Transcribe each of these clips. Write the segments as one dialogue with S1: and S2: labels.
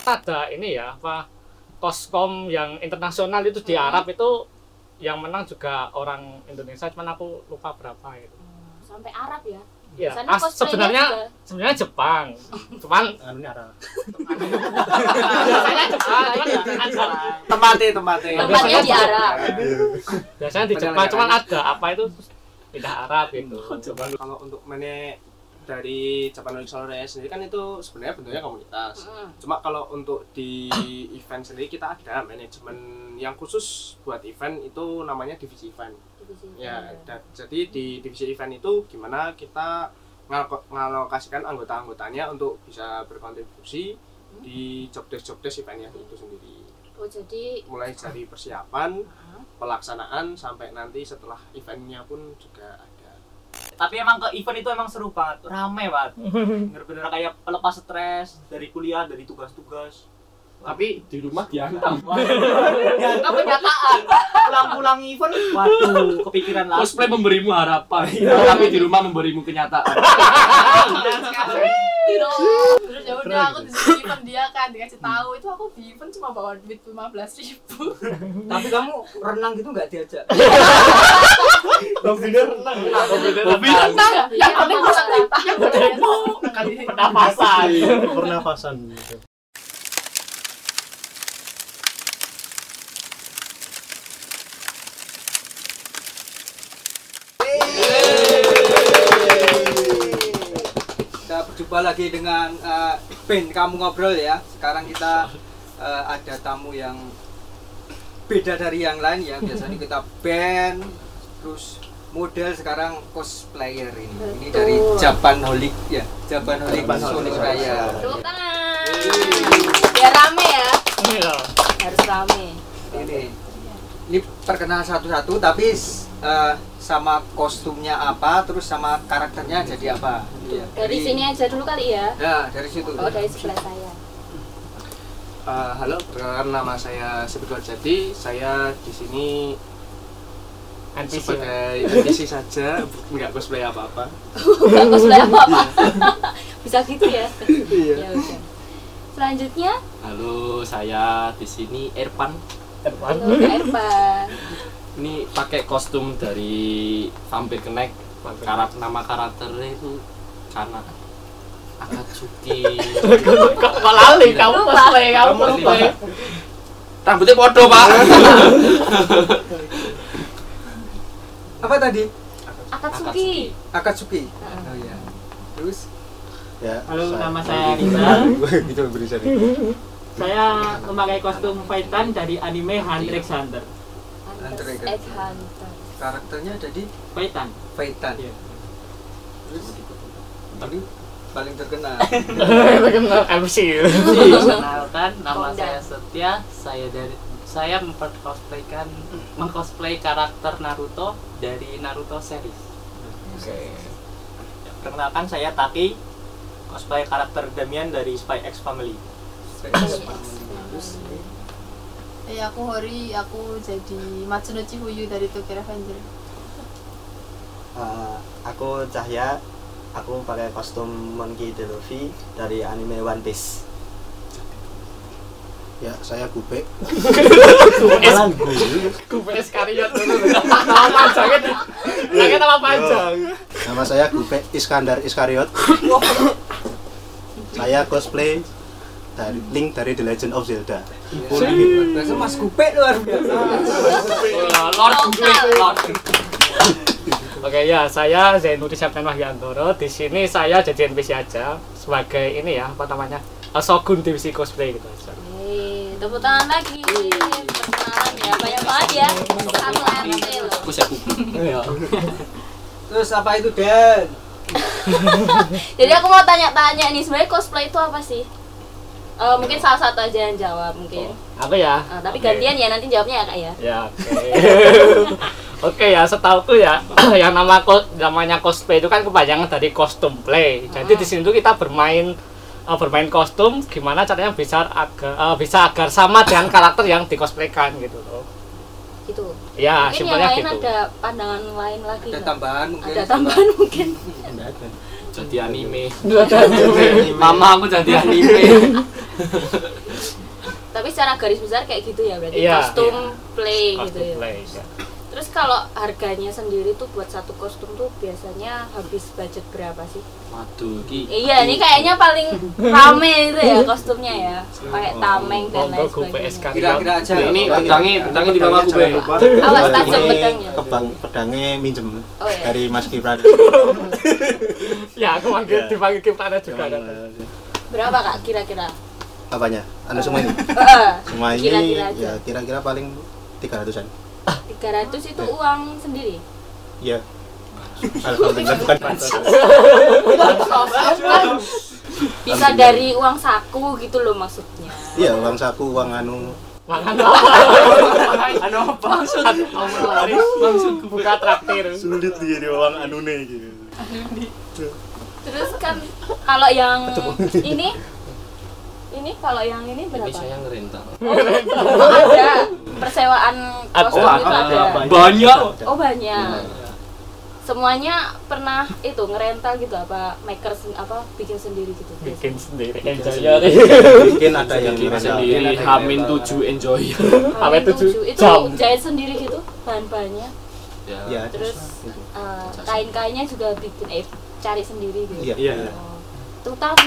S1: ada ini ya apa koskom yang internasional itu di Arab
S2: Hmm.
S1: itu yang menang juga orang Indonesia cuman aku lupa berapa itu
S2: Hmm, sampai Arab ya
S1: ya
S2: Biasanya
S1: as-
S2: cosplaynya
S1: sebenarnya
S2: juga-
S1: sebenarnya Jepang cuman
S3: Anunya ada.
S1: biasanya Jepang
S4: Ah,
S1: cuman
S4: iya.
S1: ada-
S5: Tempatnya, tempatnya.
S2: Tempatnya di Arab.
S1: biasanya di
S5: Padahal
S1: Jepang
S5: ya,
S1: cuman
S5: kan?
S1: ada apa itu pindah Arab gitu
S5: Kalau untuk mana dari Japan Olympic Sore sendiri kan itu sebenarnya bentuknya komunitas.
S2: Mm.
S5: Cuma kalau untuk di event sendiri kita ada manajemen yang khusus buat event itu namanya divisi event.
S2: Divisi.
S5: Ya, da- jadi di divisi event itu gimana kita ngalok- ngalokasikan anggota-anggotanya untuk bisa berkontribusi di jobdesk-jobdesk eventnya itu sendiri.
S2: oh jadi
S5: Mulai dari persiapan,
S2: Hah?
S5: pelaksanaan sampai nanti setelah eventnya pun juga ada.
S4: Tapi emang ke event itu emang seru banget, rame banget. Bener-bener kayak pelepas stres dari kuliah, dari tugas-tugas. Tapi
S3: Di rumah dihantam.
S4: ya itu kenyataan. Pulang-pulang event,
S3: Iya.
S4: waduh, kepikiran lagi. Iya.
S3: Cosplay memberimu harapan, tapi di rumah memberimu kenyataan.
S6: Tidak. gitu. Terus ya udah aku disuruh event dia kan dikasih tahu itu aku di event cuma bawa duit 15.000 ribu.
S7: Tapi kamu renang gitu nggak diajak? Nah,
S3: Tapi
S2: Iya,
S6: Yang penting masak kita. Yang penting
S1: pernapasan
S3: pernafasan gitu.
S7: Kita berjumpa lagi dengan eh, Ben kamu ngobrol ya. Sekarang kita eh, ada tamu yang beda dari yang lain ya. Biasanya kita band terus model sekarang cosplayer ini. Ini
S2: Betul.
S7: dari Japan Holik ya. Japan Holik Surabaya.
S2: tepuk tangan biar rame ya
S1: Iya.
S2: harus rame
S7: Ini ini terkenal satu-satu tapi eh, sama kostumnya apa terus sama karakternya jadi apa. Iya.
S2: dari sini aja dulu kali ya
S7: Ya, dari situ.
S2: oh dari sebelah saya
S5: Eh, halo, perkenalkan nama saya Sebetulnya Jadi. Saya di sini
S1: NPC ya.
S5: sebagai NPC saja, nggak cosplay apa-apa.
S1: Iya.
S2: nggak cosplay apa apa bisa gitu ya ya udah selanjutnya
S3: Halo, saya di sini Erpan.
S2: halo Kak Irfan
S3: Ini pakai kostum dari Vampir Kenek. Karat nama karakternya itu Kana Akatsuki.
S1: kok kok lali kamu
S2: Lupa.
S1: cosplay kamu
S3: Kamu lupa.
S1: cosplay
S3: Rambutnya podo, Pak.
S7: Apa tadi?
S2: Akatsuki
S7: Akatsuki.
S2: Heeh.
S7: Oh iya. Terus
S3: Ya,
S4: Halo, nama saya Rizal.
S3: Gitu berisik.
S4: Saya memakai kostum Titan dari anime Hunter x Hunter.
S2: Hunters
S7: Hunter.
S2: x Hunter
S7: karakternya jadi
S4: Titan.
S7: Faitan.
S4: Iya.
S7: Terus tapi paling terkenal.
S4: Iya.
S1: NPC
S4: Perkenalkan,
S2: Bondan.
S4: nama saya Setia. Saya dari Iya. saya mempercosplaykan mengcosplay karakter Naruto dari Naruto series.
S3: Kan
S4: Perkenalkan saya Taki, cosplay karakter Damian dari Spy X Family.
S7: Terus
S6: Eh aku Hori, aku jadi Matsuno Chihuyu dari Tokyo Revenger.
S8: Eh, aku Cahya, aku pakai kostum Monkey D. Luffy dari anime One Piece.
S9: Ya, saya Gubek.
S1: Malan Gue kariot dulu Nama panjangnya di-
S3: Iya.
S1: Panjangnya nama panjang
S9: Nama saya Gubek Iskandar Iskariot. saya cosplay dari Link dari The Legend of Zelda.
S7: Terus Mas Gupek luar biasa.
S1: Lord Gue Lord Oke ya, saya Zainuri Septian Wahyantoro. Di sini saya jadi NPC aja sebagai ini ya, apa namanya? eh, Shogun divisi cosplay gitu aja.
S2: Yeay, tepuk tangan lagi perkenalan ya banyak banget ya satu RT loh
S3: Aku saya kupu.
S1: Iya.
S7: Terus apa itu Dan?
S2: jadi aku mau tanya-tanya nih sebenarnya cosplay itu apa sih Eh, mungkin salah satu aja yang jawab mungkin
S1: Apa ya?
S2: Eh, tapi
S1: Oke.
S2: gantian ya nanti jawabnya ya kak ya
S1: Ya, oke. Oke ya, setauku ya, yang nama ko- namanya cosplay itu kan kepanjangan dari costume play. Jadi di sini tuh kita bermain eh, bermain kostum, gimana caranya bisa agar eh, bisa agar sama dengan karakter yang dikosplaykan gitu loh.
S2: gitu
S1: Ya,
S2: mungkin yang
S1: simpelnya
S2: lain
S1: gitu.
S2: ada pandangan lain lagi
S7: Ada
S2: nggak?
S7: tambahan mungkin.
S2: ada tambahan mungkin
S3: Jadi anime.
S1: Ada.
S3: Mama aku jadi anime.
S2: Tapi secara garis besar kayak gitu ya berarti
S1: Iya,
S2: kostum play gitu
S1: Costum
S2: ya.
S1: play. ya.
S2: Terus kalau harganya sendiri tuh buat satu kostum tuh biasanya habis budget berapa sih?
S3: Waduh, ki.
S2: Iya, ini kayaknya paling rame itu ya kostumnya ya. Pakai tameng dan lain
S1: Monggo gue
S2: sebagainya.
S1: PSK.
S7: Kira-kira aja.
S3: Ini
S7: Kalau
S3: bentangnya,
S7: kita-
S3: bentangnya di bawah aku, Be.
S7: Jangan lupa.
S2: Awas
S9: Ini
S2: tajam pedangnya.
S9: kebang pedangnya minjem
S2: Oh, iya.
S9: dari Mas Kipran.
S1: Ya, aku manggil
S9: Iya.
S1: dipanggil Kiptana juga.
S9: Gimana?
S1: kan.
S2: Berapa Kak kira-kira?
S9: Apanya? Anda semua ini? Semua ini
S2: Kira-kira aja.
S9: ya kira-kira paling 300-an.
S2: 300
S9: Ya.
S2: itu uang sendiri.
S9: Iya. Alhamdulillah bukan
S2: Bisa dari uang saku gitu loh maksudnya.
S9: Iya, uang saku, uang anu.
S1: Makan apa?
S3: Anu apa maksud?
S1: Buka traktir.
S9: Sulit dia uang anu nih gitu.
S2: Terus kan kalau yang ini ini kalau yang ini
S3: Ini
S2: berapa?
S3: saya ngerintang.
S2: ada persewaan kostum
S1: oh,
S2: itu ada.
S3: Banyak.
S2: Oh banyak. Semuanya pernah itu ngerental gitu apa maker sen- apa bikin sendiri gitu.
S1: Bikin sendiri.
S3: sendiri.
S1: Enjoy.
S9: Mungkin ada yang
S3: Bikin
S9: merasa
S3: sendiri, hamin 7 enjoy.
S1: Apa
S2: Awet
S1: itu, Ju?
S2: itu
S1: Jam.
S2: jahit sendiri gitu bahan-bahannya.
S9: Ya,
S2: Terus
S9: gitu.
S2: eh, kain-kainnya juga bikin eh cari sendiri gitu.
S9: Iya.
S5: Iya.
S2: Oh, Tuh tahu.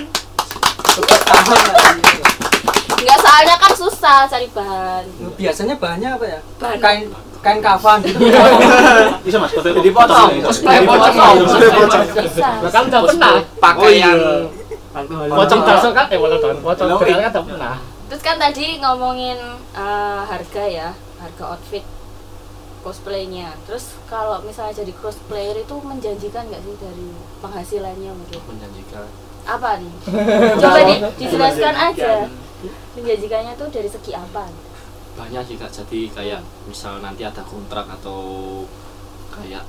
S2: Enggak soalnya kan susah cari bahan.
S1: Iya.
S7: Biasanya bahannya apa ya?
S2: Bahan.
S7: Kain kain kafan gitu.
S9: Bisa Mas, foto
S3: Jadi potong.
S9: Cosplay
S3: Cosplay potong.
S2: Bisa.
S1: Bahkan udah
S9: Oh,
S1: pernah.
S9: iya.
S3: Pakaian.
S1: Pocong dasar kan, eh pocong pocong dasar kan udah pernah.
S2: Terus kan tadi ngomongin eh, harga ya, harga outfit cosplaynya. Terus kalau misalnya jadi cosplayer itu menjanjikan nggak sih dari penghasilannya mungkin?
S3: Menjanjikan.
S2: Apa nih? Coba di, dijelaskan aja. Menjanjikannya tuh dari segi apa?
S3: banyak sih kak jadi kayak misal nanti ada kontrak atau kayak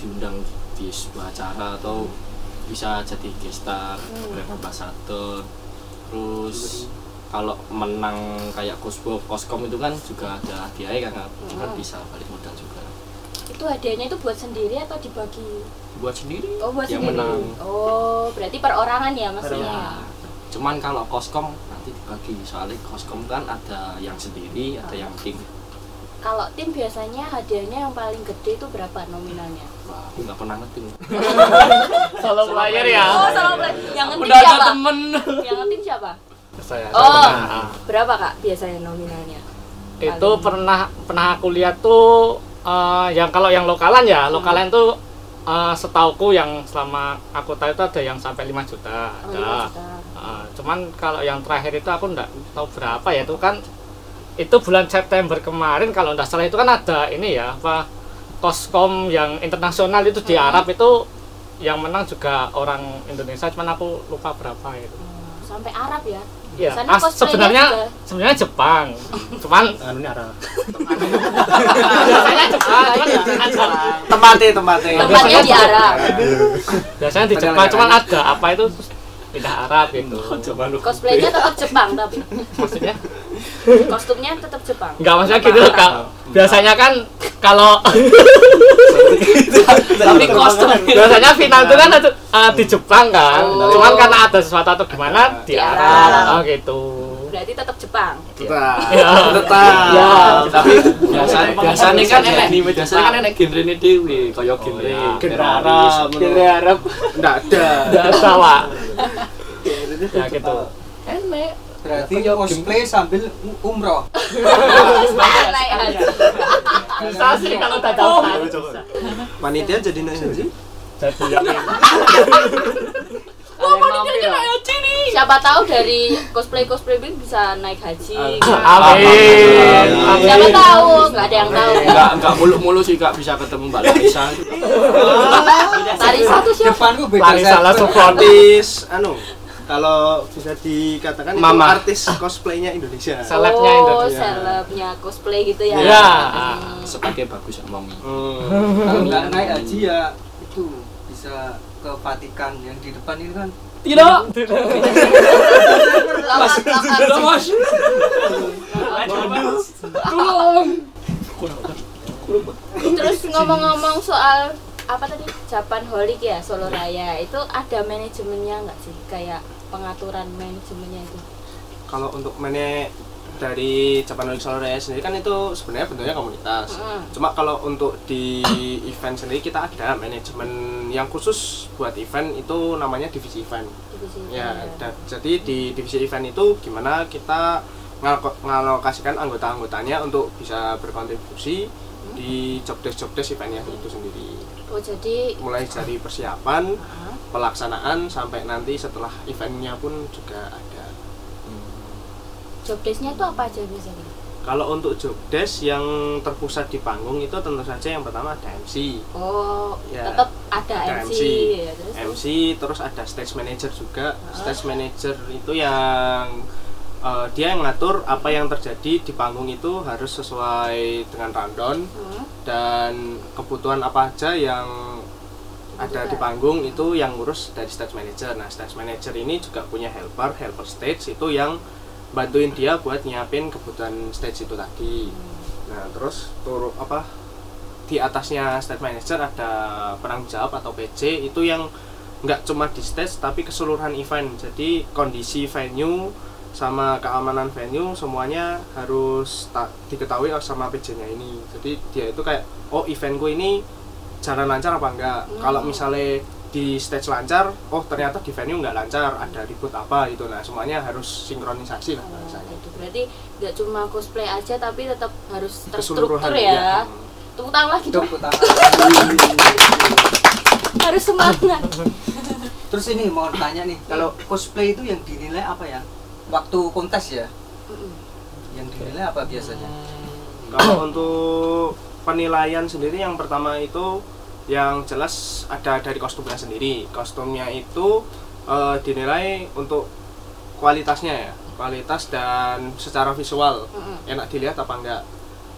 S3: diundang di sebuah acara atau bisa jadi guest star
S2: Hmm.
S3: brand ambassador terus kalau menang kayak kosbo koskom itu kan juga ada hadiahnya kan Kak. itu kan
S2: Hmm.
S3: bisa balik modal juga
S2: Itu hadiahnya itu buat sendiri atau dibagi?
S3: buat sendiri
S2: Oh buat
S3: yang
S2: sendiri.
S3: menang
S2: Oh berarti perorangan ya maksudnya?
S3: ya cuman kalau koskom nanti dibagi soalnya koskom kan ada yang sendiri ada
S2: Hmm.
S3: yang tim
S2: Kalau tim biasanya hadiahnya yang paling gede itu berapa nominalnya?
S3: wah aku nggak pernah ngetim
S1: Solo player ya.
S2: Oh sama yang ngetim
S3: udah ada
S2: siapa?
S3: temen
S2: Yang ngetim siapa?
S1: Saya.
S2: Oh.
S1: pernah.
S2: Berapa kak biasanya nominalnya?
S1: itu
S2: Paling-
S1: pernah pernah aku lihat tuh eh, yang kalau yang lokalan ya lokalan tuh eh, setauku yang selama aku tahu itu ada yang sampai 5 juta
S2: Oh,
S1: ada
S2: lima juta.
S1: Eh, cuman kalau yang terakhir itu aku nggak tahu berapa ya itu kan itu bulan September kemarin kalau nggak salah itu kan ada ini ya apa koskom yang internasional itu di
S2: Hmm.
S1: Arab itu yang menang juga orang Indonesia cuman aku lupa berapa itu
S2: Hmm, sampai Arab ya?
S1: ya
S2: Sana
S1: ah,
S2: cosplaynya juga.
S1: sebenarnya sebenarnya Jepang cuman
S9: anunya arah.
S1: biasanya
S2: Iya,
S1: Jepang cuman
S7: Tempatnya tempatnya.
S2: Tempatnya di Arab.
S1: biasanya di
S7: Padahal
S1: Jepang
S7: nggak
S1: cuman
S7: ada.
S1: ada apa itu terus pindah Arab gitu
S2: Cosplaynya tetap Jepang tapi
S1: maksudnya
S2: kostumnya tetap Jepang.
S1: nggak maksudnya gitu loh Kak. biasanya kan kalau
S3: tapi kostum
S1: biasanya final itu kan ada, eh, di Jepang kan
S2: Oh.
S1: cuman karena ada sesuatu atau gimana
S2: Di
S1: di
S2: Arab.
S1: Arab oh gitu
S2: Berarti tetap Jepang.
S1: ya
S3: tapi biasanya biasanya kan enek biasanya kan enek genre ini dewi
S1: Oh,
S3: kaya
S1: ya.
S3: genre genre
S4: Eh,
S3: Arab genre Arab
S5: Enggak ada.
S1: nggak salah ya gitu enek
S7: Berarti cosplay sambil umroh.
S2: Naik Oh. haji.
S1: bisa sih kalau udah daftar
S7: Panitia jadi naik haji.
S1: jadi ya
S2: Oh, panitianya naik haji nih. Siapa tahu dari cosplay cosplay ini bisa naik haji. kan.
S1: amin
S3: Amin.
S2: Siapa tahu, nggak ada yang tahu.
S3: enggak enggak mulu-mulu sih kak bisa ketemu Mbak Lisa
S2: Tari satu siapa?
S7: Depanku beda
S1: Lari salah
S7: sektor.
S1: support
S5: Artis anu kalau bisa dikatakan itu
S3: Mama.
S5: artis cosplaynya Indonesia.
S1: selebnya itu
S2: Oh, selebnya cosplay gitu ya.
S1: ya
S3: sebagai bagus Mami
S5: Iya. Ah. Hmm.
S7: Kalau nggak naik haji ya itu bisa ke Vatikan yang di depan ini kan.
S3: tidak
S2: Lawan lawan.
S3: mas
S2: Terus ngomong-ngomong soal apa tadi Japan Holic ya Solo Raya itu ada manajemennya nggak sih kayak pengaturan manajemennya itu?
S5: kalau untuk menek dari Japan Olympic Solo Race sendiri kan itu sebenarnya bentuknya komunitas.
S2: Mm.
S5: Cuma kalau untuk di event sendiri kita ada manajemen yang khusus buat event itu namanya divisi event.
S2: divisi
S5: Ya,
S1: Hmm.
S2: event,
S5: da- jadi di divisi event itu gimana kita ngalok- ngalokasikan anggota-anggotanya untuk bisa berkontribusi di jobdesk-jobdesk eventnya itu sendiri.
S2: oh jadi
S5: Mulai dari persiapan,
S2: ah,
S5: pelaksanaan sampai nanti setelah eventnya pun juga ada.
S2: jobdesknya itu apa aja biasanya
S5: Kalau untuk jobdesk yang terpusat di panggung itu tentu saja yang pertama ada MC.
S2: oh
S5: Ya,
S2: tetap ada,
S5: ada
S2: MC,
S5: MC.
S2: ya, terus
S5: MC terus ada stage manager juga. Stage manager itu yang eh, dia yang ngatur apa yang terjadi di panggung itu harus sesuai dengan rundown
S2: Hmm,
S5: dan kebutuhan apa aja yang ada di panggung itu yang ngurus dari stage manager. Nah, stage manager ini juga punya helper, helper stage itu yang bantuin dia buat nyiapin kebutuhan stage itu tadi. Nah, terus turun apa di atasnya stage manager ada penanggung jawab atau PC itu yang nggak cuma di stage tapi keseluruhan event. Jadi kondisi venue sama keamanan venue semuanya harus ta- diketahui oh, sama PJ-nya ini. Jadi dia itu kayak oh eventku ini jalan lancar apa enggak kalau misalnya di stage lancar oh ternyata di venue nggak lancar ada ribut apa gitu nah semuanya harus sinkronisasi lah
S2: oh,
S5: bahasanya
S2: itu berarti nggak cuma cosplay aja tapi tetap harus
S5: Keseluruhan,
S2: terstruktur
S5: iya.
S2: ya tepuk tangan lagi
S7: Hidup
S2: dong
S7: utama.
S2: harus semangat
S7: Terus ini mau tanya nih, kalau cosplay itu yang dinilai apa ya? Waktu kontes ya,
S2: Mm-mm.
S7: yang dinilai apa biasanya?
S5: kalau untuk penilaian sendiri yang pertama itu yang jelas ada dari kostumnya sendiri kostumnya itu eh, dinilai untuk kualitasnya ya kualitas dan secara visual
S2: Mm-mm.
S5: enak dilihat apa enggak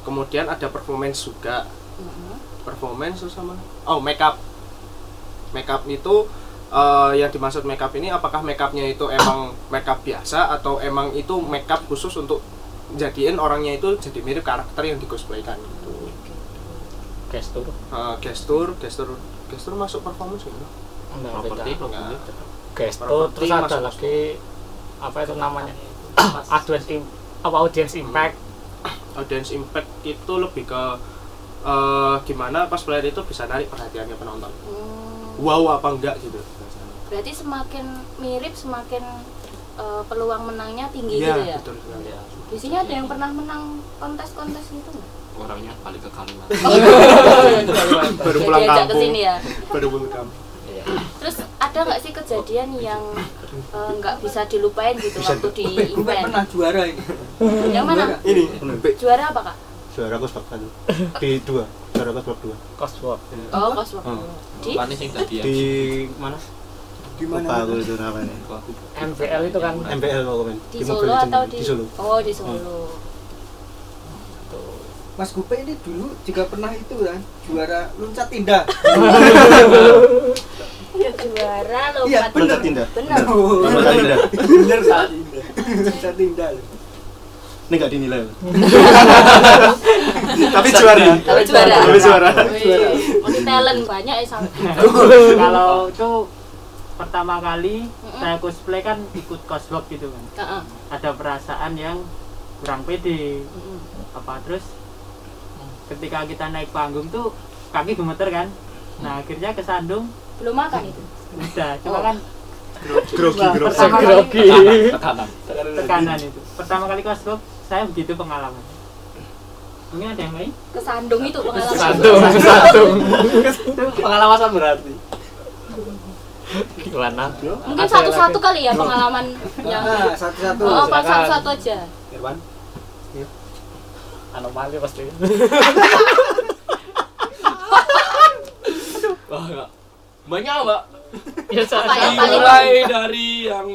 S5: kemudian ada performance juga
S2: Mm-mm.
S5: performance terus sama oh makeup makeup itu eh, yang dimaksud makeup ini apakah makeupnya itu emang makeup biasa atau emang itu makeup khusus untuk jadiin orangnya itu jadi mirip karakter yang dicosplaykan gitu
S1: gestur
S5: Eh, gestur gestur gestur masuk performance gitu
S1: Nah,
S3: properti
S1: beda.
S3: properti
S1: gestur
S5: Properti
S1: terus ada
S5: masuk.
S1: lagi apa itu namanya audience im- apa audience impact
S5: Hmm. audience impact itu lebih ke eh, gimana cosplayer itu bisa narik perhatiannya penonton
S2: Hmm,
S5: wow apa enggak gitu
S2: berarti semakin mirip semakin eh, peluang menangnya tinggi
S5: iya
S2: gitu ya
S5: betul sekali
S2: biasanya ada yang pernah menang kontes-kontes gitu nggak
S3: orangnya balik ke kalimat
S5: baru
S2: Jadi
S5: pulang
S2: ajak ke
S5: kampung
S2: sini ya
S5: baru pulang kampung
S1: Iya.
S2: terus ada nggak sih kejadian yang eh, nggak bisa dilupain gitu waktu di
S7: Gue
S2: event
S7: pernah juara ini.
S2: yang mana
S9: ini Be-
S2: juara apa kak
S9: juara aku sepak satu di dua juara aku sepak dua
S1: cosplay
S2: oh koswak
S9: Hmm.
S2: di
S3: panis yang tadi ya
S9: di
S1: mana
S7: Gimana?
S9: lupa aku itu namanya
S3: Aku- aku
S1: MPL itu kan
S9: MPL aku main
S2: di
S9: mobil
S2: Solo atau
S9: di Solo
S2: oh di Solo
S7: Mas Gupe ini dulu juga pernah itu kan juara loncat indah.
S2: ya juara
S7: Iya,
S2: lompat
S7: bener.
S9: loncat indah
S2: bener
S9: loncat indah
S7: Bener saat indah. Loncat indah. loh.
S9: ini nggak dinilai loh. tapi juara
S2: Tapi juara.
S9: tapi juara
S7: Juara.
S2: Masih talent banyak ya sama
S4: kalau itu pertama kali saya cosplay kan ikut cosplay gitu kan
S2: Heeh,
S4: ada perasaan yang kurang pede
S2: heeh.
S4: apa terus ketika kita naik panggung tuh kaki gemeter kan nah akhirnya kesandung
S2: belum makan kan itu
S4: udah cuma
S2: Oh.
S4: kan
S9: grogi
S4: Wah,
S9: grogi
S4: pertama kali
S1: grogi
S3: tekanan
S4: tekanan itu pertama kali cosplay saya begitu pengalaman mungkin ada yang lain
S2: kesandung itu pengalaman
S1: satu satu
S4: pengalaman berarti
S1: gimana
S2: mungkin satu-satu kali ya pengalaman yang
S7: Nah, satu-satu.
S2: oh apa
S1: silakan.
S2: satu-satu aja
S5: Irwan
S1: anomali pasti
S3: wah enggak banyak mbak
S1: ya
S2: apa yang paling
S3: mulai dari yang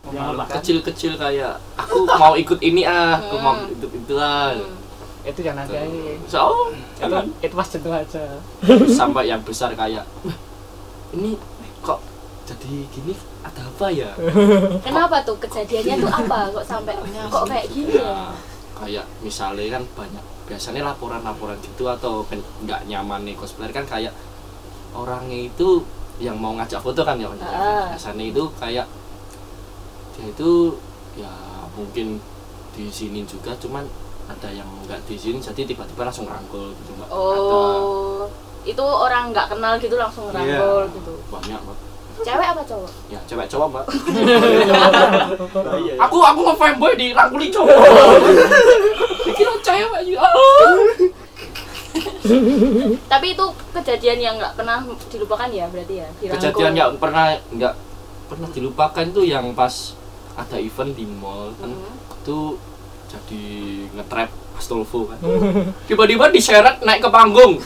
S4: Yang apa?
S3: Ya, kecil-kecil kayak aku mau ikut ini ah aku mau
S2: Hmm.
S3: ikut itu lah
S2: Hmm.
S1: itu jangan aja itu
S3: so jangan
S1: itu pas itu aja
S3: sampai yang besar kayak ini kok jadi gini ada apa ya
S2: Kenapa tuh kejadiannya tuh apa kok sampai kok kayak gini ya?
S3: Nah, kayak misalnya kan banyak biasanya laporan-laporan gitu atau pen- nggak nyaman nih cosplayer kan kayak orangnya itu yang mau ngajak foto kan ya
S2: Ah.
S3: biasanya itu kayak dia itu ya mungkin di sini juga cuman ada yang nggak di sini jadi tiba-tiba langsung rangkul gitu mbak ada
S2: Oh, itu orang nggak kenal gitu langsung
S3: Iya.
S2: rangkul gitu.
S3: banyak mbak
S2: Cewek apa cowok?
S3: ya cewek cowok mbak
S8: Iya, iya.
S3: aku aku nge-fanboy di rangkuli cowok dikira cewek juga
S2: Tapi itu kejadian yang nggak pernah dilupakan ya berarti ya. dirangkul.
S3: kejadian yang pernah nggak pernah dilupakan tuh yang pas ada event di mall kan
S2: Mhm.
S3: itu jadi ngetrap Astolfo kan tiba-tiba diseret naik ke panggung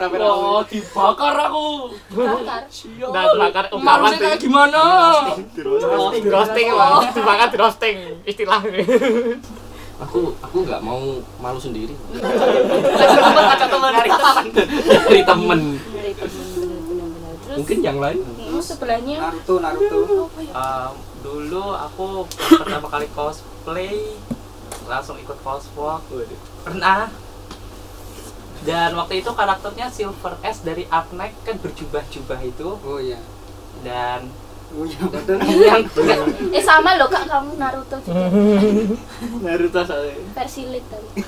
S3: wah dibakar aku
S2: Dibakar?
S3: sial
S1: Nah, dibakar
S3: Malu sih Iya. kayak gimana Iya.
S1: Di roasting lah, dibakar di roasting istilahnya.
S3: aku aku nggak mau malu sendiri
S1: Dari temen.
S2: Dari temen, bener-bener. Terus
S3: mungkin yang lain
S2: mm, sebelahnya
S7: Naruto Naruto
S4: Um, dulu aku pertama kali cosplay langsung ikut cosplay pernah dan waktu itu karakternya Silver S dari Upnight kan berjubah-jubah itu
S7: oh iya
S4: dan
S7: punya badan
S4: yang
S2: eh sama loh Kak kamu Naruto juga.
S4: Naruto soalnya
S2: Versi lead tapi.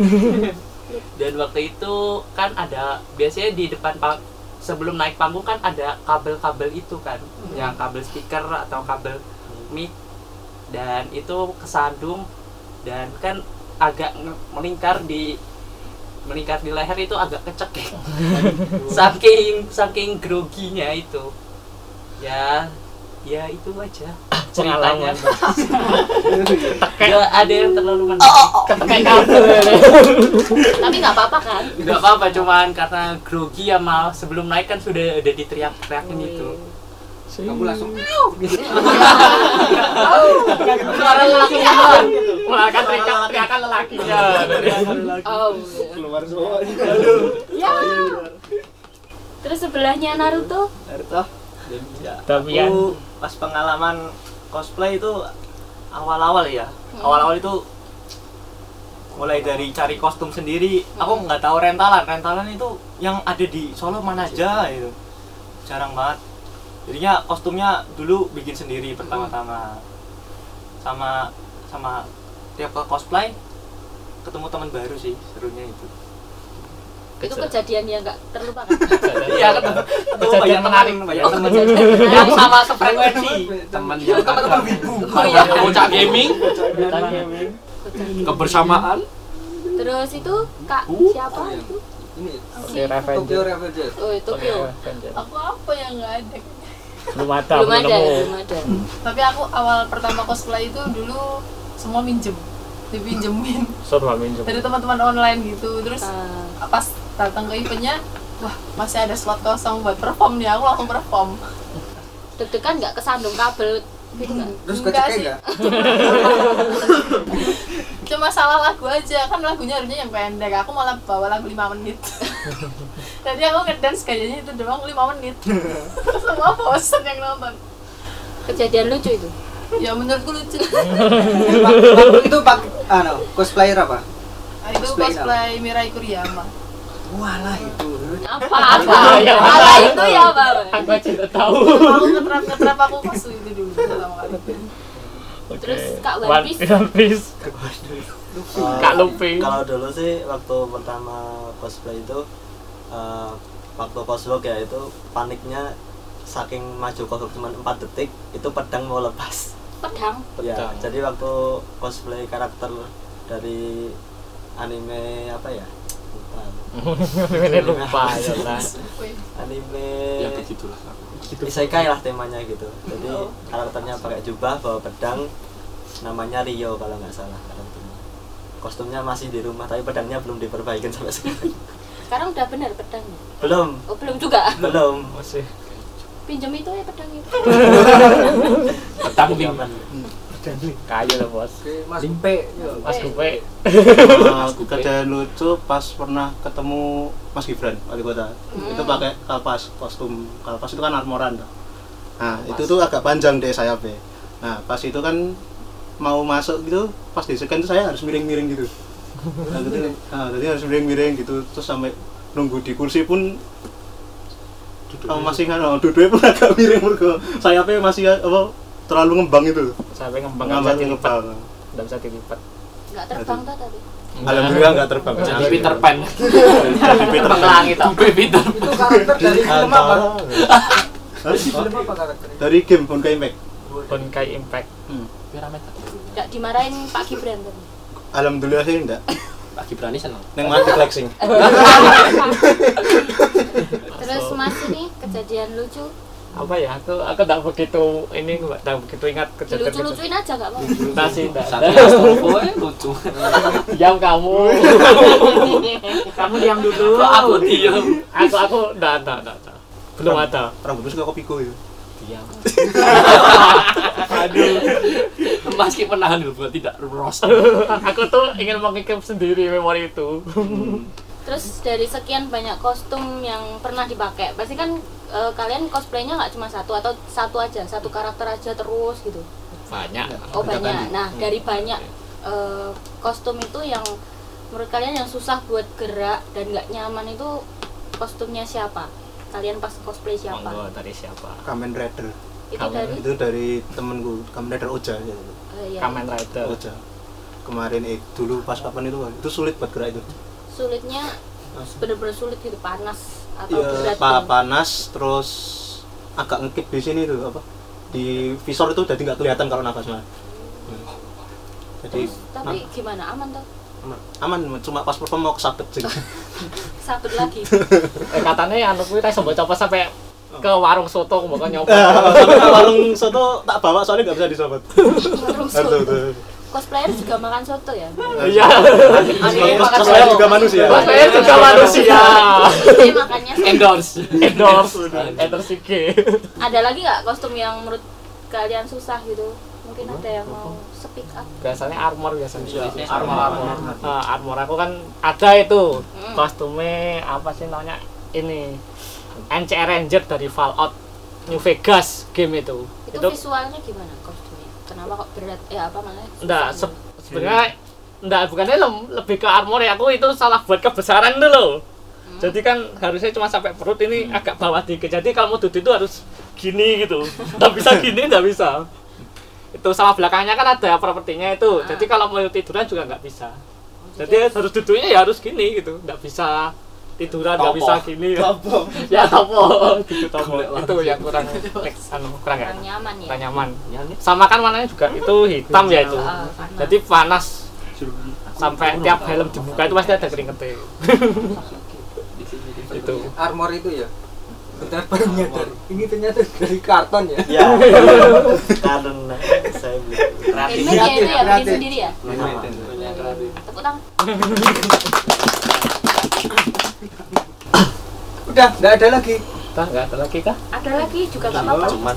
S4: dan waktu itu kan ada biasanya di depan pang sebelum naik panggung kan ada kabel-kabel itu kan yang kabel speaker atau kabel mic dan itu kesandung dan kan agak nge- melingkar di melingkar di leher itu agak kecekek saking saking groginya itu ya ya itu aja ceritanya
S1: Pengalaman. Tekek,
S4: ya ada yang terlalu menarik
S1: tekek kabel.
S2: Tapi nggak apa-apa kan?
S4: Gak apa-apa, cuman karena grogi ya mal sebelum naik kan sudah udah diteriak-teriakin itu.
S7: kamu langsung
S1: Suara lelaki temen. Melakukan teriakan- teriakan
S5: Iya,
S3: Iya,
S1: lelakinya.
S2: Iya, Oh.
S9: keluar semua
S2: Ya. Terus sebelahnya Naruto.
S4: Naruto.
S1: Damian.
S4: Ya. Aku pas pengalaman cosplay itu awal-awal ya. Awal-awal itu mulai dari cari kostum sendiri. Aku nggak tahu rentalan. Rentalan itu yang ada di Solo mana aja itu. Jarang banget. Jadinya kostumnya dulu bikin sendiri pertama-tama. Sama sama tiap ke cosplay ketemu teman baru sih serunya itu.
S2: Itu kejadian yang nggak terlupakan.
S4: Iya ketemu ketemu
S1: Kejadian
S4: banyak
S1: menarik.
S4: teman, banyak
S2: Oh,
S4: teman.
S2: kejadian
S4: yang
S2: menarik.
S4: sama sefrekuensi
S3: teman yang
S4: teman-teman wibu
S3: bocah gaming kebersamaan
S2: Terus itu Kak siapa itu?
S7: ini
S1: Oke,
S7: Tokyo
S1: Revenger.
S7: Revengers
S2: Oh,
S1: iya.
S2: Tokyo.
S6: aku apa yang nggak ada
S1: Belum ada,
S2: Belum
S1: belum
S2: ada,
S1: nemu.
S2: belum ada.
S6: tapi aku awal pertama cosplay itu dulu semua minjem dipinjemin
S1: Suruh minjem.
S6: dari teman-teman online gitu terus
S2: Ah,
S6: pas datang ke eventnya wah masih ada slot kosong buat perform nih aku langsung perform
S2: deg-degan nggak kesandung kabel gitu kan?
S7: terus
S6: Enggak
S7: keceknya
S6: sih.
S7: enggak
S6: cuma salah lagu aja kan lagunya harusnya yang pendek aku malah bawa lagu 5 menit jadi aku ngedance kayaknya itu doang 5 menit semua bosen yang nonton
S2: Kejadian lucu itu.
S6: ya menurutku lucu
S7: Waktu itu pak ano cosplayer apa
S6: Nah, itu
S7: Cosplay
S6: cosplay Mirai Kuriyama
S7: walah itu
S2: Apa apa? Apa itu ya, Pak?
S1: Aku aja nggak tahu.
S6: aku ngetrap ngetrap aku kosu itu dulu pertama kali
S2: Terus
S1: Oke. Iya.
S2: Kak One Piece?
S1: One Piece.
S8: Eh,
S1: Kak Luffy.
S8: Kalau dulu sih waktu pertama cosplay itu eh, waktu coslog ya itu paniknya saking maju coslog cuma 4 detik itu pedang mau lepas.
S2: Pedang.
S8: Ya, jadi waktu cosplay karakter dari anime apa ya? Lupa.
S1: Ini lupa ya lah.
S8: Anime
S3: ya begitulah aku
S8: isekai lah temanya gitu. Jadi karakternya pakai jubah bawa pedang namanya Rio kalau nggak salah karakternya. Kostumnya masih di rumah tapi pedangnya belum diperbaikin sampai sekarang.
S2: Sekarang udah bener pedang. ya?
S8: belum,
S2: Oh, belum juga.
S8: belum.
S1: Masih.
S2: Pinjem itu ya pedang itu.
S3: petang nih
S1: Kayu lah bos.
S7: oke mas P
S1: Mas Gupe.
S9: kejadian lucu pas pernah ketemu Mas Gibran wali kota itu
S2: Hmm.
S9: pakai kalpas kostum kalpas itu kan armoran tuh. nah itu tuh agak panjang deh sayapnya nah pas itu kan mau masuk gitu pas disekan tuh saya harus miring-miring gitu nah, gitu. Nah, jadi harus miring-miring gitu terus sampai nunggu di kursi pun oh, masih kan oh, duduknya pun agak miring mergo sayapnya masih apa terlalu ngembang itu loh.
S1: sampai ngembang nggak bisa
S9: Ngembang
S1: dilipat
S9: ngembang.
S1: nggak bisa dilipat
S2: nggak terbang tuh tapi
S9: Alhamdulillah nggak terbang.
S3: Jadi Peter Pan.
S9: Jadi Peter
S1: terbang ke langit toh.
S3: Kube Peter.
S7: Itu karakter dari film apa?
S8: Antara-
S9: Hah?
S7: Film apa karakternya?
S9: Dari game Bonkai Impact.
S1: Bonkai Impact
S3: Hmm.
S2: nggak dimarahin Pak Gibran tadi
S9: Alhamdulillah sih enggak.
S3: Pak Gibrani seneng.
S8: Neng mati flexing.
S2: terus Mas ini kejadian lucu
S1: apa ya aku aku nggak begitu ini nggak begitu ingat kejadian
S2: lucu lucuin aja nggak mau
S1: entah sih enggak
S3: Satu Astro lucu.
S1: diam kamu
S4: Kamu diam dulu.
S3: Kok aku diem?
S1: aku aku enggak enggak enggak enggak. belum ada
S9: Rambutku suka kopiko ya.
S3: Diam. Aduh. Meski penahan buat tidak ros.
S1: aku tuh ingin mengikam sendiri memori itu
S3: Hmm,
S2: Terus dari sekian banyak kostum yang pernah dipakai, pasti kan eh, kalian cosplaynya nggak cuma satu atau satu aja, satu karakter aja terus gitu.
S3: Banyak.
S2: Oh banyak. Nah dari
S1: Hmm.
S2: banyak eh, kostum itu yang menurut kalian yang susah buat gerak dan nggak nyaman itu kostumnya siapa? Kalian pas cosplay siapa?
S1: monggo dari siapa
S9: Kamen Rider.
S2: Itu
S1: Kamen
S2: dari
S9: Itu dari temenku Kamen Rider Oja ya.
S2: eh, ya,
S1: Kamen Rider
S9: Oja. Kemarin eh, dulu pas kapan itu itu sulit buat gerak itu.
S2: sulitnya bener-bener sulit gitu panas atau
S9: Iya,
S2: berat.
S9: pa-
S2: gitu.
S9: panas terus agak ngekip di sini tuh apa? Di visor itu jadi nggak kelihatan kalau nafas mah. Jadi
S2: Terus, tapi gimana aman tuh?
S9: aman cuma pas perform mau kesabet sih.
S2: Sabut lagi.
S1: eh, katanya anu kuwi iso mbok copot sampai ke warung soto
S2: Eh.
S1: mbok nyoba
S9: Warung soto tak bawa soalnya nggak bisa disobat.
S2: Warung
S9: Aduh,
S2: soto.
S9: aduh.
S2: Cosplayer juga makan soto ya?
S1: iya
S9: Terus terus saya juga manusia.
S1: saya juga manusia
S2: Ini makannya
S3: Endorse.
S1: endorse endorse IG
S2: ada lagi nggak kostum yang menurut kalian susah gitu mungkin ada yang mau speak up
S1: biasanya armor biasanya
S4: Iya, Armor armor.
S1: Ah, armor aku kan ada itu
S2: Hmm.
S1: kostumnya apa sih namanya ini NCR Ranger dari Fallout New Vegas game itu
S2: itu, visualnya gimana kostumnya kenapa kok berat ya apa namanya
S1: enggak se- sebenarnya enggak bukannya lem- lebih ke armor ya aku itu salah buat kebesaran dulu loh
S2: Hmm.
S1: jadi kan harusnya cuma sampai perut ini agak bawah dikit jadi kalau mau duduk itu harus gini gitu nggak bisa gini nggak bisa itu sama belakangnya kan ada propertinya itu
S2: Ah. Oh, gitu.
S1: jadi kalau mau tiduran juga nggak bisa jadi harus duduknya ya harus gini gitu nggak bisa tiduran nggak bisa gini ya topo tidur topo itu yang kurang anu, kurang nggak
S2: kurang nyaman ya
S1: kurang nyaman sama kan warnanya juga itu hitam ya itu
S2: Ah, panas.
S1: jadi panas sampai tiap helm dibuka itu pasti ada keringetnya itu
S7: Armor itu ya. Bentar baru nyadar. Ini ternyata dari karton ya.
S8: Ya. Karena saya beli.
S2: helmet ya itu ya bikin
S7: Kreatif.
S2: sendiri ya
S7: Nah,
S2: tepuk tangan
S7: Udah, nggak ada lagi.
S1: Tah, nggak ada lagi kah
S2: ada lagi juga nggak apa-apa
S3: Cuman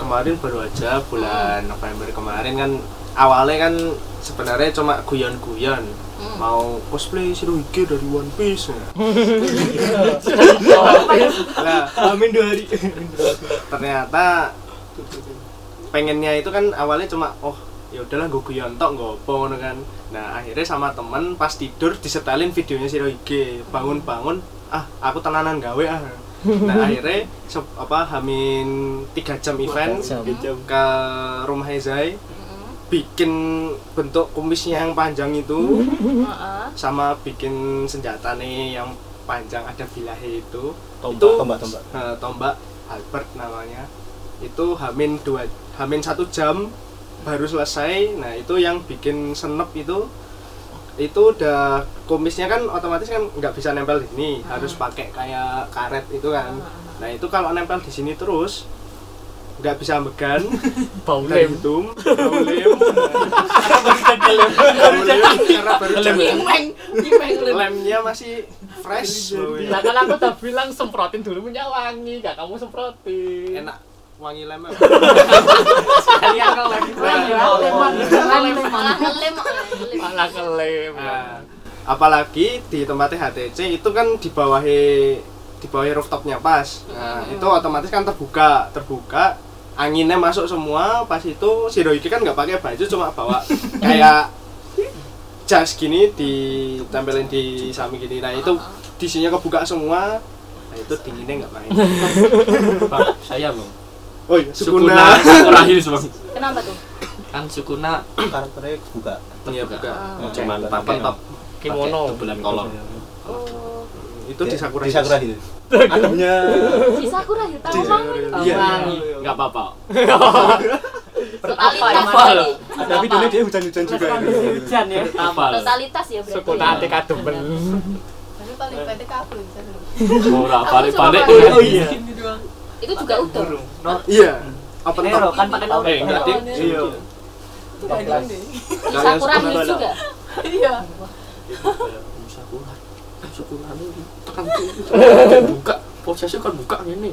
S5: kemarin baru aja bulan November kemarin kan awalnya kan sebenarnya cuma guyon-guyon
S2: Hmm.
S5: mau cosplay Shiro Hige
S3: gitu.
S5: dari One
S9: ya.
S5: Piece
S2: Oh, iya.
S5: nah,
S7: Amin dua hari.
S5: ternyata pengennya itu kan awalnya cuma oh ya udahlah gue guyon tok gue apa ngono kan nah akhirnya sama temen pas tidur disetelin videonya Shiro Hige bangun-bangun ah aku tenanan gawe ah nah akhirnya se- apa hamin tiga jam Mm-hmm. event ke rumah Ezai bikin bentuk kumisnya yang panjang itu sama bikin senjata nih yang panjang ada bilahe itu
S9: Tombak,
S5: Itu-
S9: tombak, tombak.
S5: eh, tombak Albert namanya itu hamin dua hamin satu jam baru selesai nah itu yang bikin senep itu itu udah kumisnya kan otomatis kan nggak bisa nempel di sini harus pakai kayak karet itu kan nah itu kalau nempel di sini terus nggak bisa megan
S1: bau
S5: dari
S1: lem
S5: hidung bau lem Bau lem, karena baru jadi lemnya masih fresh Iya. baunya.
S1: Lah kan aku udah bilang semprotin dulu punya wangi, gak kamu semprotin.
S5: enak wangi lem
S4: Kalian kalau lagi
S5: Oh, iya.
S2: malah ngelem malah ngelem.
S1: Malah kelem.
S3: Ah.
S5: Nah, apalagi di tempatnya HTC itu kan di bawahi di bawahi rooftopnya pas nah,
S2: Hmm.
S5: itu otomatis kan terbuka terbuka anginnya masuk semua pas itu si Royki kan nggak pakai baju cuma bawa kayak jas gini ditempelin di samping gini nah
S2: Ah,
S5: itu disinya kebuka semua nah itu dinginnya nggak main
S3: Pak, saya bang
S5: Oh iya,
S3: Sukuna,
S5: Sukuna.
S3: Sukuna Hills bang.
S2: Kenapa tuh?
S3: Kan Sukuna
S9: karakternya buka
S3: Iya buka.
S2: Ah.
S3: Cuman
S9: Pakai
S3: pakai
S9: top.
S3: top
S1: Kimono.
S3: pakai tebelan kolor.
S2: Oh,
S5: Itu di Sakura.
S9: di Sakura Hill
S5: Ademnya.
S2: si Sakura Hill tahu
S5: Di
S2: Bang.
S5: Sakura.
S2: Iya.
S5: Iya.
S3: Enggak apa-apa.
S2: Totalitas
S4: Apa?
S2: tadi.
S9: ada videonya dia hujan-hujan juga
S4: hujan ya
S3: Apa?
S2: Totalitas ya berarti.
S1: Sukuna
S2: ya.
S1: anti kademen.
S6: Tapi
S3: Eh.
S6: paling pendek aku bisa dulu.
S3: Ora balik-balik.
S6: Aku cuma
S3: Oh
S5: iya.
S2: Itu juga udah.
S5: Iya.
S3: Hmm.
S5: Open
S4: Nero
S5: top.
S4: kan pakai
S3: Eh,
S4: open
S3: enggak.
S5: Iya.
S6: Itu gak ada deh.
S2: Di Sakura Hill juga.
S6: Iya.
S3: Sukuna. Sukuna lu tekan buka. Prosesnya kan buka ngene.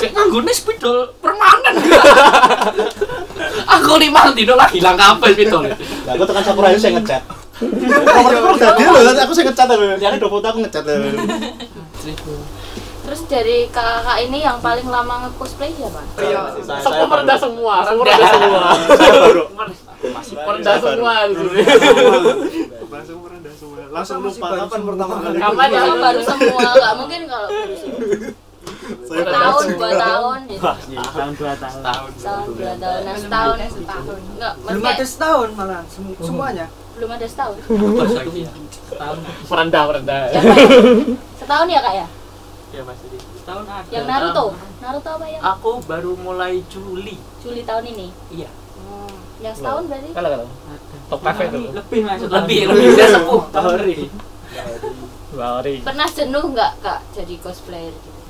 S3: Kayak nganggone spidol permanen. Aku nih mal dino lagi hilang kabeh spidol.
S9: Lah aku tekan Sakura Hill saya ngecat. Nomor nomor tadi lho, aku saya ngecat lho. Nyari dua foto aku ngecat lho.
S2: Terus dari kakak ini yang paling lama nge-cosplay ya, siapa?
S1: Semua merendah semua, semua merendah semua.
S3: Masih
S1: Merendah
S5: Iya,
S1: semua di sini.
S5: Langsung merendah semua. Langsung
S7: Kamu
S5: lupa
S7: masih baru
S5: kapan
S7: semua.
S5: pertama
S2: Iya.
S5: kali.
S1: Kapan ya?
S2: Kalau baru semua, nggak mungkin kalau baru semua.
S9: Saya
S2: Tahun, dua tahun, gitu.
S4: iya, tahun dua tahun
S2: Tahun, dua tahun, nah setahun.
S6: Setahun.
S2: Enggak,
S7: belum
S2: maksudnya
S7: ada setahun malah semu- semuanya
S2: belum ada setahun.
S3: lagi ya.
S1: Merendah, merendah.
S2: Siapa ya? Setahun ya kak ya?
S3: Iya,
S4: ya masih di tahun ada
S2: Yang Naruto? Naruto apa ya?
S3: Ah.
S4: aku baru mulai Juli
S2: Juli tahun ini?
S4: Iya.
S2: Hmm. Yang setahun berarti?
S1: Kalau kalau. Top cafe dulu.
S4: lebih masuk lebih lebih bisa sepuluh tahun
S1: Lari.
S2: Pernah jenuh nggak kak jadi cosplayer gitu?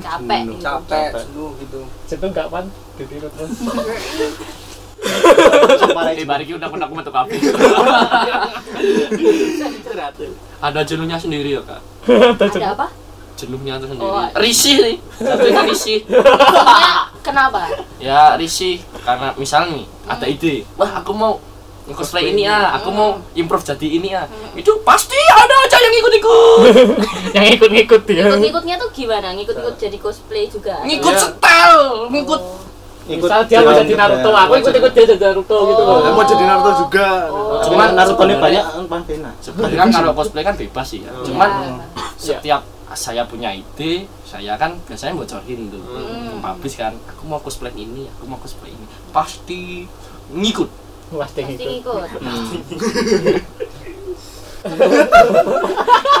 S2: Capek.
S9: Jenuh.
S2: gitu.
S7: capek jenuh gitu
S1: Situ enggak pan ditiru terus.
S3: Di bariki udah pernah aku metu kafe. Ada jenuhnya sendiri ya, Kak.
S2: Ada apa?
S3: Jenuhnya itu sendiri.
S2: Oh.
S3: Risih nih. Satu itu risih.
S2: Jenuhnya kenapa?
S3: ya risih karena misal nih ada ide wah aku mau Hmm. cosplay ini ah aku mau improve jadi ini ah itu pasti ada aja yang ikut ikut
S1: Yang ikut-ikut ya. dia.
S2: Ngikut-ngikutnya tuh gimana? Ngikut-ngikut jadi cosplay juga?
S3: ngikut Oh. setel ngikut
S1: Misal dia mau jadi Naruto, aku ikut-ikut dia jadi Naruto gitu loh.
S5: Aku mau jadi Naruto juga.
S2: Oh.
S9: Cuman Naruto ini
S3: Sebenarnya-
S9: banyak panfena.
S3: sebenarnya kan kalau cosplay kan bebas sih ya cuman
S2: Ya.
S3: setiap saya punya ide saya kan biasanya bocorin tuh
S2: Hmm.
S3: hmm. publish kan aku mau cosplay ini aku mau cosplay ini pasti ngikut Hmm.
S1: Pasti
S2: Pasti
S1: ngikut.
S2: ngikut.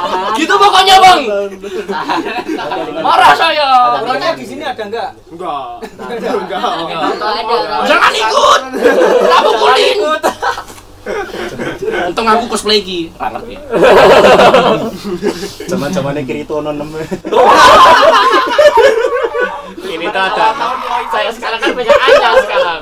S2: Ah.
S3: gitu pokoknya bang marah saya
S7: pokoknya di sini ada enggak
S5: Enggak. Enggak.
S2: Nggak ada.
S3: jangan ikut tak pukulin untung aku cosplay lagi ra ngerti
S9: Zaman-zamannya Kirito no 6.
S1: Ini tuh ada. Saya sekarang kan punya Anya sekarang.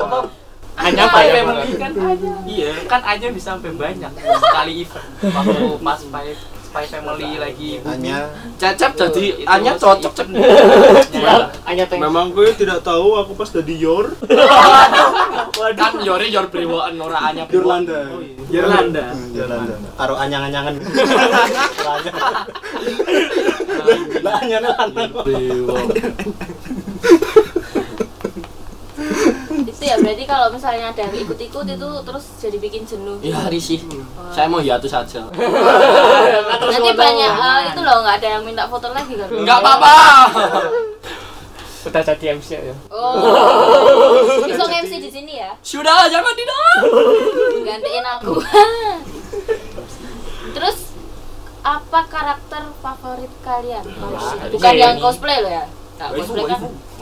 S1: Anya
S3: ya?
S1: banyak
S4: memang
S1: banget.
S4: kan aja iya kan aja bisa sampai banyak sekali event waktu pas Spy Spy Family lagi
S9: Hanya
S3: cecep jadi
S4: Itu
S3: hanya
S4: masih-
S3: cocok cep
S1: Anya Iya. teng.
S5: Memang gue tidak tahu aku pas jadi Yor.
S3: kan yore yor brewoan ora hanya Oh, iya. brewoan
S9: Yurlanda.
S5: Yorlanda.
S9: Yurlanda. Karo anyang-anyangan. Lah anyane lanang.
S2: Itu ya berarti kalau misalnya ada yang ikut-ikut itu terus jadi bikin jenuh.
S1: Iya,
S3: ya risih saya mau hiatus aja
S2: Nanti banyak eh, itu loh nggak ada yang minta foto lagi kan?
S3: enggak apa-apa
S1: Udah jadi MC ya.
S2: Oh, besok MC di sini ya,
S3: sudah jangan tidak
S2: gantiin aku. Terus apa karakter favorit kalian? Bukan
S1: Ini.
S2: yang cosplay loh ya? Nggak cosplay kan?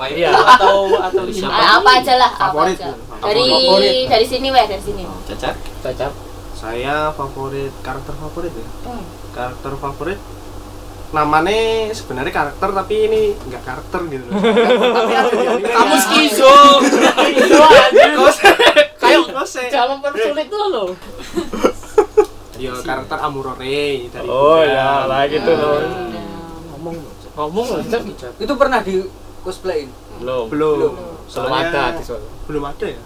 S1: Iya.
S4: atau atau siapa
S2: Ah, apa aja lah, apa
S5: Favorit,
S2: aja.
S5: favorit.
S2: Dari
S5: Favorit.
S2: dari sini weh, dari sini.
S3: cecep
S1: Cacap.
S5: Saya favorit karakter favorit ya.
S2: Hmm.
S5: Karakter favorit namanya sebenarnya karakter tapi ini enggak karakter gitu loh. tapi ada di anime. Iya.
S3: kamu skizo
S1: Itu aja.
S5: kayak kose. Eh.
S1: Jangan mempersulit tuh loh.
S5: Ya karakter Amurore dari Iya.
S1: Oh
S5: Gundam.
S1: ya, lah gitu loh. Ngomong loh, Cep.
S7: itu pernah di cosplayin
S1: Belum.
S5: Belum.
S1: Belum
S5: Soalnya
S1: ada di Solo.
S5: Belum ada ya?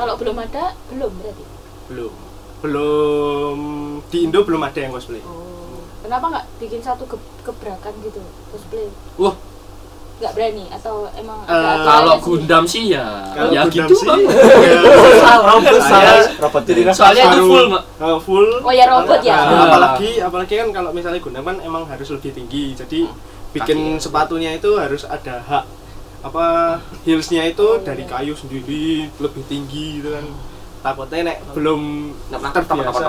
S2: Kalau belum ada, belum berarti.
S5: Belum. Belum di Indo belum ada yang cosplay.
S2: Oh. Kenapa nggak bikin satu ke- gebrakan gitu cosplay?
S3: Wah.
S2: Nggak berani atau emang
S5: Eh,
S2: ada aturannya
S3: kalau
S2: sih?
S3: Gundam sih ya
S5: Kalau
S3: ya
S5: Gundam
S3: gitu
S5: sih,
S3: bang
S5: ya,
S9: Robot salah. Robot diri.
S3: soalnya itu
S5: Baru-
S3: full Mbak.
S5: eh, full
S2: Oh ya robot ya.
S5: Nah,
S3: Ya.
S5: apalagi apalagi kan kalau misalnya Gundam kan emang harus lebih tinggi jadi bikin
S4: Kaki.
S5: sepatunya itu harus ada hak apa heelsnya itu dari kayu sendiri lebih tinggi gitu kan takutnya nek belum terbiasa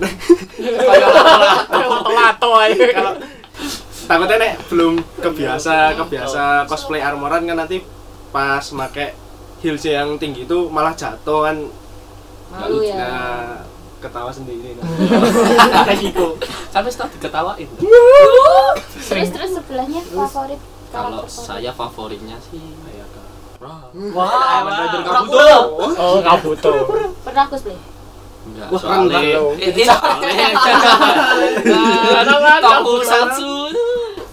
S1: Lato aja.
S5: kalau takutnya nek belum kebiasa kebiasa cosplay armoran kan nanti pas make heels yang tinggi itu malah jatuh kan
S2: malu ya
S5: nah ketawa sendiri nah.
S3: kayak gitu sampai setelah diketawain
S2: terus terus sebelahnya favorit
S3: kalau
S2: karakter favorit?
S3: saya favoritnya sih kayak
S4: Ah,
S3: Nah,
S4: Wah,
S3: Kabuto.
S1: Oh, nggak butuh.
S2: pernah cosplay
S3: enggak
S9: Wah, keren
S3: soalnya Iya.
S9: banget dong.
S4: Ini Toko satu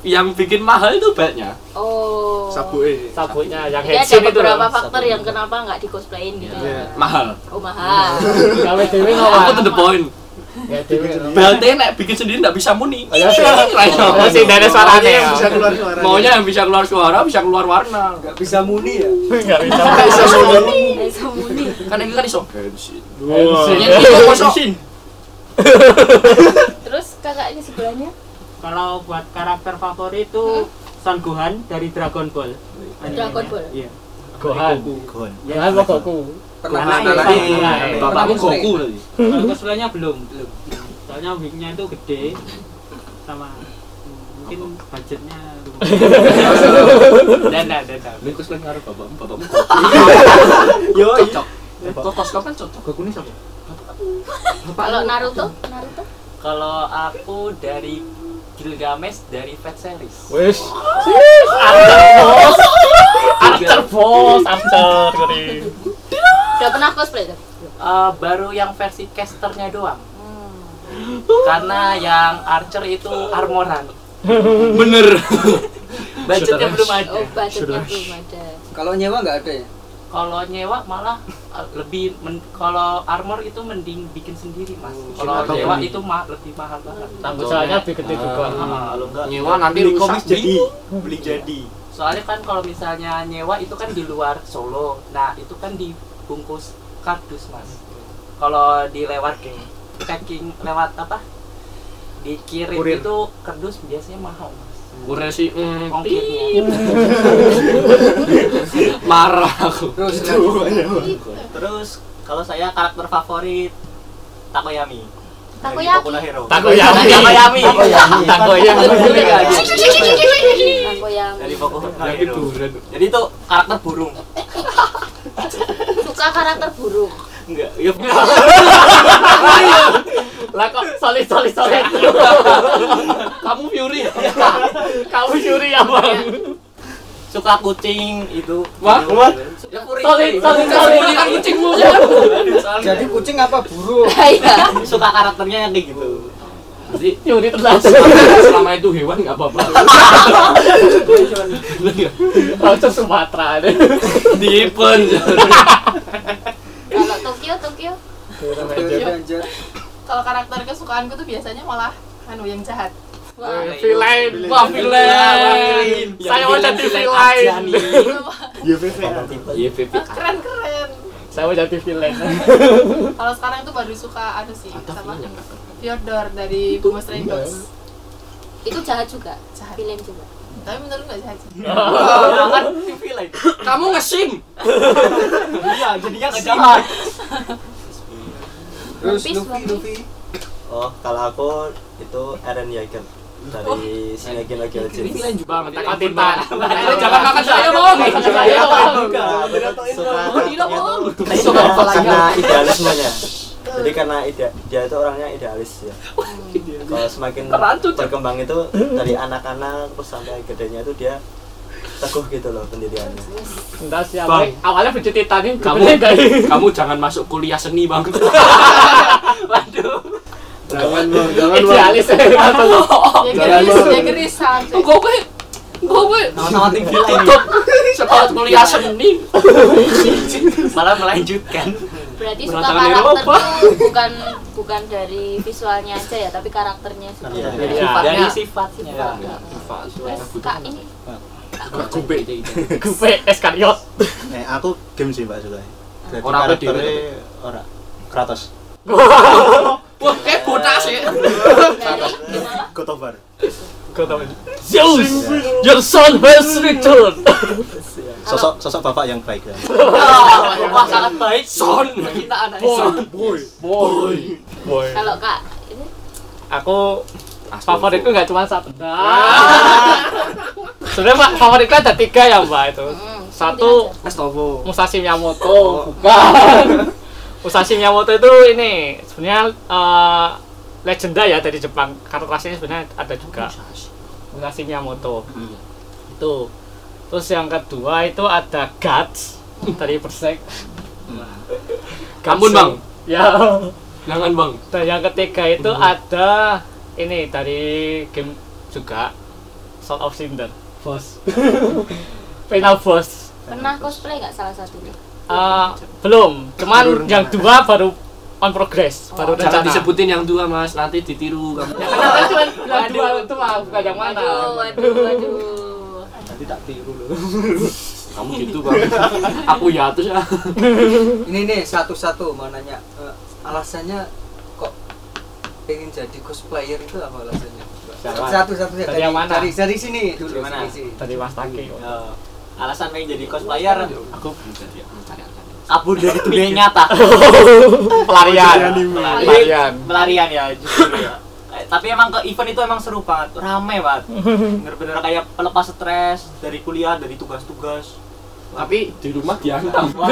S3: yang bikin mahal itu banyak
S2: oh
S5: sabu eh
S1: Sabuknya yang
S2: jadi
S1: headset
S2: ada
S1: itu loh.
S2: beberapa faktor
S3: Sabu.
S2: yang kenapa nggak di cosplayin gitu
S5: Iya.
S2: ya.
S3: mahal
S2: oh mahal
S1: Gawe dewe
S3: aku to
S1: ngomong.
S3: the point
S1: Ya dewe.
S3: BLT nek bikin sendiri ndak bisa muni
S1: Ayo sih. Oh, sih dari suaranya
S5: Maunya
S1: ya.
S5: yang bisa keluar suara
S3: maunya yang bisa keluar suara bisa keluar warna
S7: nggak bisa muni ya
S1: Enggak bisa.
S5: bisa solo
S2: Eh, Samuni.
S3: kan ini kan iso Iya, bensin
S1: Bensin.
S3: Yang itu kosong
S2: terus kakak ini sebelahnya Hmm?
S10: Kalau buat karakter favorit itu Son Gohan dari Dragon Ball.
S2: Dragon Ball?
S10: Iya.
S1: Gohan.
S8: Gohan.
S1: Gohan mau Goku.
S3: Nah,
S7: pernah
S10: Pernah,
S7: pernah
S1: Nah,
S10: pernah.
S7: ini.
S1: Pernah.
S7: Pernah
S3: bapakmu
S7: cosplay.
S3: Goku tadi
S10: Kalau cosplaynya belum, belum. Soalnya wignya itu gede sama hmm, mungkin budgetnya dana dana
S3: Lu cosplay karo bapakmu, bapakmu Goku.
S5: yo
S10: iya.
S3: Cocok. Kok cosplay kan cocok. Goku ini siapa?
S2: kalau Naruto Naruto
S4: Kalau aku dari Gilgamesh dari Fat Series.
S1: Wis. After
S3: Iya.
S1: boss. After boss, after ngeri.
S2: udah pernah cosplay tuh
S4: Eh, baru yang versi casternya doang.
S2: Hmm.
S4: Karena yang Archer itu armoran.
S3: Bener.
S4: Budgetnya belum ada.
S2: oh budgetnya belum ada
S7: kalau nyewa nggak ada ya
S4: Kalau nyewa malah eh, lebih men- kalau armor itu mending bikin sendiri, Mas. Kalau
S3: Atau
S4: nyewa
S3: beli.
S4: itu ma- lebih mahal banget.
S1: Usahanya lebih gede juga.
S4: Ah,
S8: Kalau enggak
S3: Nyewa nanti
S8: beli
S3: rusak
S8: komik jadi, beli jadi.
S4: Soalnya kan kalau misalnya nyewa itu kan di luar Solo. Nah, itu kan dibungkus kardus, Mas. Kalau di lewat packing lewat apa? Dikirim
S5: Kurir.
S4: itu kardus biasanya mahal, Mas.
S3: Kurir sih mm,
S4: Ongkirnya.
S3: marah aku.
S7: terus lanjut.
S10: Terus kalau saya karakter favorit Takoyami.
S2: takoyaki
S10: Hero.
S1: Takoyaki.
S4: Takoyami.
S1: Takoyaki.
S2: takoyaki
S10: Dari Boku no
S3: Lagi
S10: Hero.
S3: duren.
S10: Jadi itu karakter burung.
S2: suka kan? karakter burung
S10: Enggak, Iya. ya
S1: Lah kok solid solid solid.
S3: Kamu Fury ya?
S1: Kamu juri ya, Bang.
S10: suka kucing itu.
S3: Wah, wah.
S10: Ya kuring.
S1: Solid solid solid.
S3: kan kucingmu.
S7: jadi kucing apa burung
S2: iya
S10: Suka karakternya yang kayak gitu.
S3: Jadi
S1: Juri telat.
S3: selama itu hewan nggak apa-apa.
S1: Langsung Sumatera.
S3: Dipen.
S2: kalau Tokyo Tokyo
S7: Tokyo Ranger
S6: kalau karakter kesukaanku tuh biasanya malah anu yang jahat
S2: Wah,
S1: Villain.
S3: Wah, villain.
S1: Saya mau jadi villain.
S8: Bukan tipe.
S3: YPP.
S6: keren Kan keren
S1: Saya mau jadi villain.
S6: kalau sekarang tuh baru suka anu sih
S3: Ada
S6: sama
S3: filmnya nggak?
S6: Fyodor dari Bunga Stray Dogs
S2: itu jahat juga
S6: jahat
S2: villain juga
S6: tapi menurut nggak jahat sih
S10: Kan villain.
S3: Kamu ngesim.
S10: Iya, jadinya enggak jahat.
S7: terus
S2: One Piece,
S7: Luffy
S2: One Piece.
S7: Luffy
S8: Oh, kalau aku itu Eren Yeager dari Shingeki no Kyojin.
S3: Bang, tak
S1: Attack on Titan.
S3: Jangan makan saya, Bang.
S1: Makan saya, Bang.
S8: Suka
S3: Tidak mau.
S8: suka karena idealismenya. Jadi karena ide, dia itu orangnya idealis ya. Kalau semakin
S3: Terlanjut, ya.
S8: berkembang itu dari anak-anak terus sampai gedenya itu dia teguh gitu loh pendiriannya.
S1: Enggak sih,
S3: Bang.
S1: Bang. Awalnya benci Titanium,
S3: Kamu-
S1: kamu enggak.
S3: Kamu jangan masuk kuliah seni, Bang.
S5: jangan bang jangan bang
S1: Idealis. Atau-
S6: ya geris ya geris sampai
S3: Gue gue
S10: Sama-sama tim villain.
S3: tutup sekolah kuliah seni.
S10: Malah melanjutkan.
S2: berarti suka
S3: Berat tangan
S2: karakter
S3: Eropa.
S2: tuh bukan bukan dari visualnya aja ya tapi karakternya juga
S8: Iya.
S1: Iya.
S4: Dari sifatnya.
S3: Iya.
S2: Kak ini
S3: Kubik.
S1: Gue Eskariot.
S9: Eh, aku game sih Mbak suka. Jadi
S3: Ora apa
S9: karakternya
S3: dhewe
S9: ora Kratos.
S3: Wah, kayak botas ya.
S2: dari gimana
S9: Kotobar.
S1: kata Zeus, your son has returned.
S9: sosok sosok bapak yang baik ya.
S2: Oh,
S4: Wah sangat baik.
S3: Son.
S2: Kita anaknya.
S3: Boy.
S1: Boy.
S2: Kalau Kak ini
S1: Aku favoritku nggak cuma satu. Sebenarnya Pak, favoritku ada tiga ya Mbak itu.
S2: mm,
S1: Satu
S5: Astovo.
S1: Musashi Miyamoto, bukan. Musashi Miyamoto itu ini sebenarnya eh, legenda ya dari Jepang. Karena rasanya sebenarnya ada juga Musashi Miyamoto.
S3: Iya.
S1: Itu. Terus yang kedua itu ada Guts dari Berserk.
S3: Ampun,
S1: Guts-
S3: Bang.
S1: Ya.
S3: Jangan bang. Mm-hmm.
S1: Dan yang ketiga itu ada ini dari game juga Sword of Cinder, bos. Final boss.
S2: pernah cosplay nggak salah satunya?
S1: Eh, belum, cuman yang dua baru on progress,
S3: Oh,
S1: baru
S3: Jangan
S1: rencana.
S3: disebutin yang dua mas, nanti ditiru kamu.
S1: Karena cuma yang oh, nah, dua itu mah bukan yang mana.
S2: Waduh, waduh, waduh.
S7: nanti tak tiru loh
S3: Kamu gitu bang. Aku ya terus ah.
S7: ini nih satu-satu mau nanya Eh, alasannya kok pengen jadi cosplayer itu apa alasannya
S1: Siapa?
S7: satu-satunya
S1: Dari yang mana?
S7: dari dari sini dulu
S8: Dari mana?
S7: dari sini
S1: Dari Mas Taki.
S8: Eh, alasan pengen jadi cosplayer
S3: Aku jadi mencari alternatif.
S8: kabur dari dunia nyata
S1: Pelarian. Pelarian.
S8: pelarian ya justru ya Eh, tapi emang ke event itu emang seru banget rame banget bener-bener kayak pelepas stres dari kuliah dari tugas-tugas
S3: Tapi di rumah dihantam.
S8: Wah,